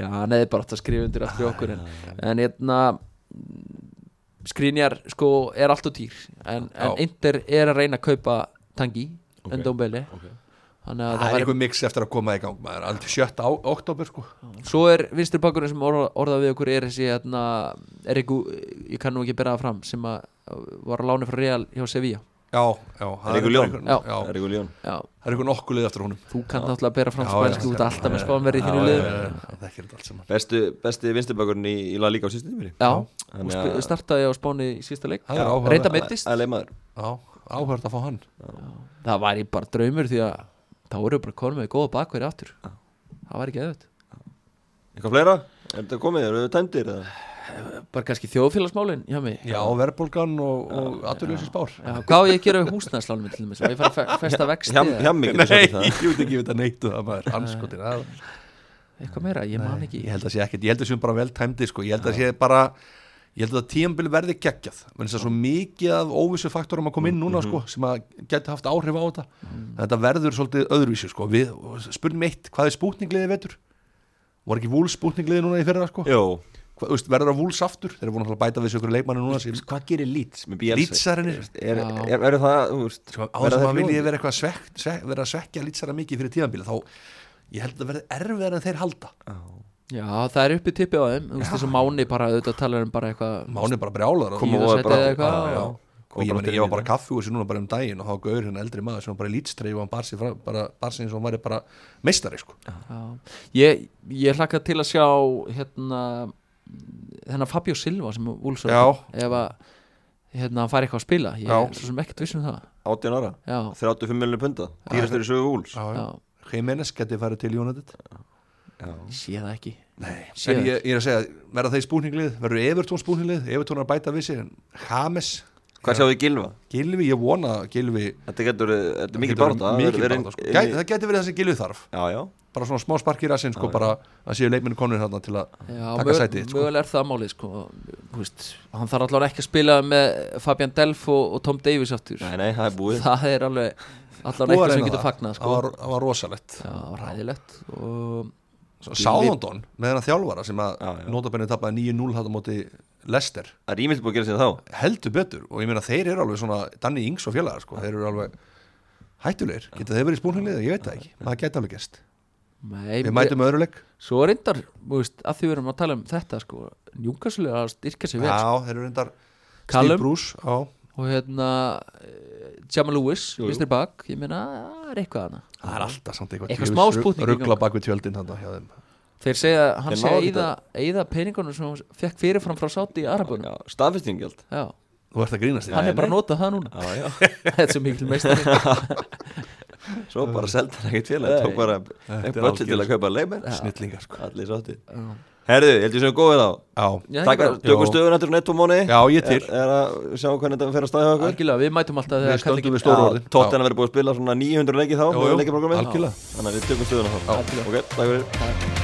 C: Já, hann hefði bara átt að skrifa undir aftur í okkur en, en hérna skrínjar sko er allt og dýr en, en
B: Já.
C: Inter er að reyna að kaupa tangi
A: Ok.
C: en Dómbeli þannig að
B: Það
C: það
B: er
C: væri,
B: ykkur mix eftir að koma í gang maður, aldrei 7. á- október sko.
C: svo er vinstri bakkurinn sem orða, orðað við okkur er þessi hérna, er ykkur, ég kann nú ekki bera það fram sem að eh, var að lána frá Real hjá Sevilla
B: Já, já það
A: Eiríkur Ljón.
B: einhver-
C: Já.
B: já,
A: Það er ykkur ljón
C: já,
B: Það er ykkur nokkuð leið eftir honum
C: þú kann náttúrulega að bera fram
B: Já,
C: spænsku
B: já,
C: út alltaf með
B: já,
C: spánverði
A: já,
C: þínu
A: já,
C: liðum
B: Það er ekki þetta allt saman
A: Bestu, besti vinstibakurinn í, í La Liga á sístu tímili
C: já,
A: Þannig
C: og
A: að-
C: sp- startaði á Spáni í sísta leik
B: Það er áhugavert.
C: reynda meittist
A: Það er leimaður
B: Já, áhört að fá hann
C: það væri bara draumur því að þá eru bara konum með góða bakveri aftur það væri ekki eðvöld
A: Eitthvað fleira? Er þetta komið? Eru þau tæmdir? eða?
C: bara kannski þjóðfélagsmálin hjá mig
B: Já, verðbólgan og, og aturlösi spár
C: Já, hvað á ég að gera við húsnæðslánum til þess að ég fara að fe- festa vexti
A: Hjam,
C: eða
A: hjammi getur sagt það
B: ég veit ekki við þetta neytu það maður anskotin að
C: eitthvað meira, ég man ekki
B: Ég held að sé ekkert, ég held að sé bara vel tæmdi sko. Ég held að sé bara Ég held að tíambil verði geggjað menn þess að svo mikið af óvissu faktorum að koma inn
A: Mm, mhm.
B: núna sko, sem að geti haft áhrif á þetta þetta verður svolítið öðruvísu sko. Við, spurning eitt, hvað er spútningliðið vetur? Var ekki vúls spútningliðið núna í fyrra sko?
A: Jó
B: Hva, veist, verður það vúls aftur? Þeir eru búin að bæta við sér ykkur leikmanni núna sem
A: Hvað gerir Leeds með Bielsa?
B: lýtsarinnir
A: Er,
C: Já.
A: er, er, er það, þú veist
B: Sko, á
A: verða
B: þess að
A: þeir
B: maður viljið
A: fljúgandi?
B: vera eitthvað svekk, svekk, vera að svekja lýtsara mikið fyrir tíðanbíla þá ég held að verði erfiðar en þeir halda
C: já, það er uppi tippi á þeim þú veist þess að Máni bara auðvitað talar um bara eitthvað
B: Máni er bara brjálar
C: Koma
B: og
C: voða
B: bara,
C: brjálaður.
B: já, já. og ég, meni, ég var bara kaffi úr sér núna bara um daginn og þá gaur hérna eldri maður sem var bara lítstreif og hann bar sig, fram, bara, bar sig eins og hann væri bara meistari sko.
C: Já. Ég, ég hlakka til að sjá hérna þennan Fabio Silva sem úlsar
B: Já.
C: ef að hérna hann fær eitthvað að spila ég
B: Já.
C: er svo sem ekkert viss um það
A: 18 ára,
C: já,
A: 35 miljonir punta dýrastur í sögu úls
C: já,
B: Jimenez geti farið til United
C: ég sé það ekki
B: Nei,
C: Sér.
B: en ég, ég er að segja, verða þeir spúninglið verður Evertón spúninglið, Evertón er að bæta við sér en James,
A: Hvað sjáðu í gilva?
B: Gilvi, ég vona að Gilvi
A: Þetta getur, þetta er mikil
B: getur verið
A: barða
B: mikil barða, sko. Gæti- það geti verið það sem Gilvi þarf
A: Já, já,
B: bara svona smá sparkir að sinn sko, bara að séu leikminni konur þarna til að
C: já,
B: taka sætið sko.
C: mögulega er það málið sko, þú veist, hann þarf allavega ekki að spila með Fabian Delf og, og Tom Davies aftur
A: nei, nei, það er búið
C: það er alveg allavega
B: Búið að
C: eitthvað sem
B: reyna
C: getur
B: það.
C: fagnað
B: það
C: sko.
B: var, það var rosalett
C: já, það var ræðilegt og
B: Sáðondon með hennar þjálfara sem að
A: Já, já.
B: notabennið tappaði 9-0 þetta móti Lester
A: Það er ímyndið búið að gera sér þá
B: heldur betur og ég meina þeir eru alveg svona Danni Ings og félagar sko, þeir eru alveg hættulegir, geta þeir verið í spúninglið ég veit það ekki, maður geta alveg gæst
C: nei,
B: við mætum öðruleik
C: svo reyndar, þú veist, að því við erum að tala um þetta sko, njúkaslega að styrka sig vel sko.
B: Já, þeir eru reyndar
C: Callum.
B: Steve Bruce á,
C: og hérna eh, Jamal Lewis, Mr. Buck ég meina, það er eitthvað hana
B: Það er alltaf samt eitthvað
C: Eitthvað
B: djöfus
C: smá
B: rugl-
C: spútnik í
B: Rugla bak við tjöldin þarna hjá þeim
C: þeir segja, hann
A: Þeir
C: segja
A: náðu
C: eða, eða peningunum sem hann fekk fyrirfram frá sátti í Arabunum já.
A: Já, staðfestingjald
B: Þú ert að grínast
C: hann
B: þér
C: er bara að nota það núna
A: Já, já,
C: þetta er svo mikil meistari
A: svo bara seldi hann ekkert félag Tók bara
B: er
A: budget til að
B: algjör-
A: kaupa leikmenn
B: Snillingar sko
A: Allir sátti Herðu, heldur við sem góðið þá
B: Já,
C: Já,
A: Takk
C: ekki
A: að dökum stöðun eftir netto móni
B: já ég til
A: er, er að sjá hvernig þetta fer að staðja okkur
C: algjörlega, við mætum alltaf
B: Við
C: þegar
B: stöndum við
C: kallingin-
B: stóru orðin
A: Tóttina verður búið að spila svona 900 leiki þá
B: Jú, jú,
A: leikjaprogrammið.
B: algjörlega.
A: Þannig að við tökum stöðuna þá Ok, takk fyrir
C: Já, takk.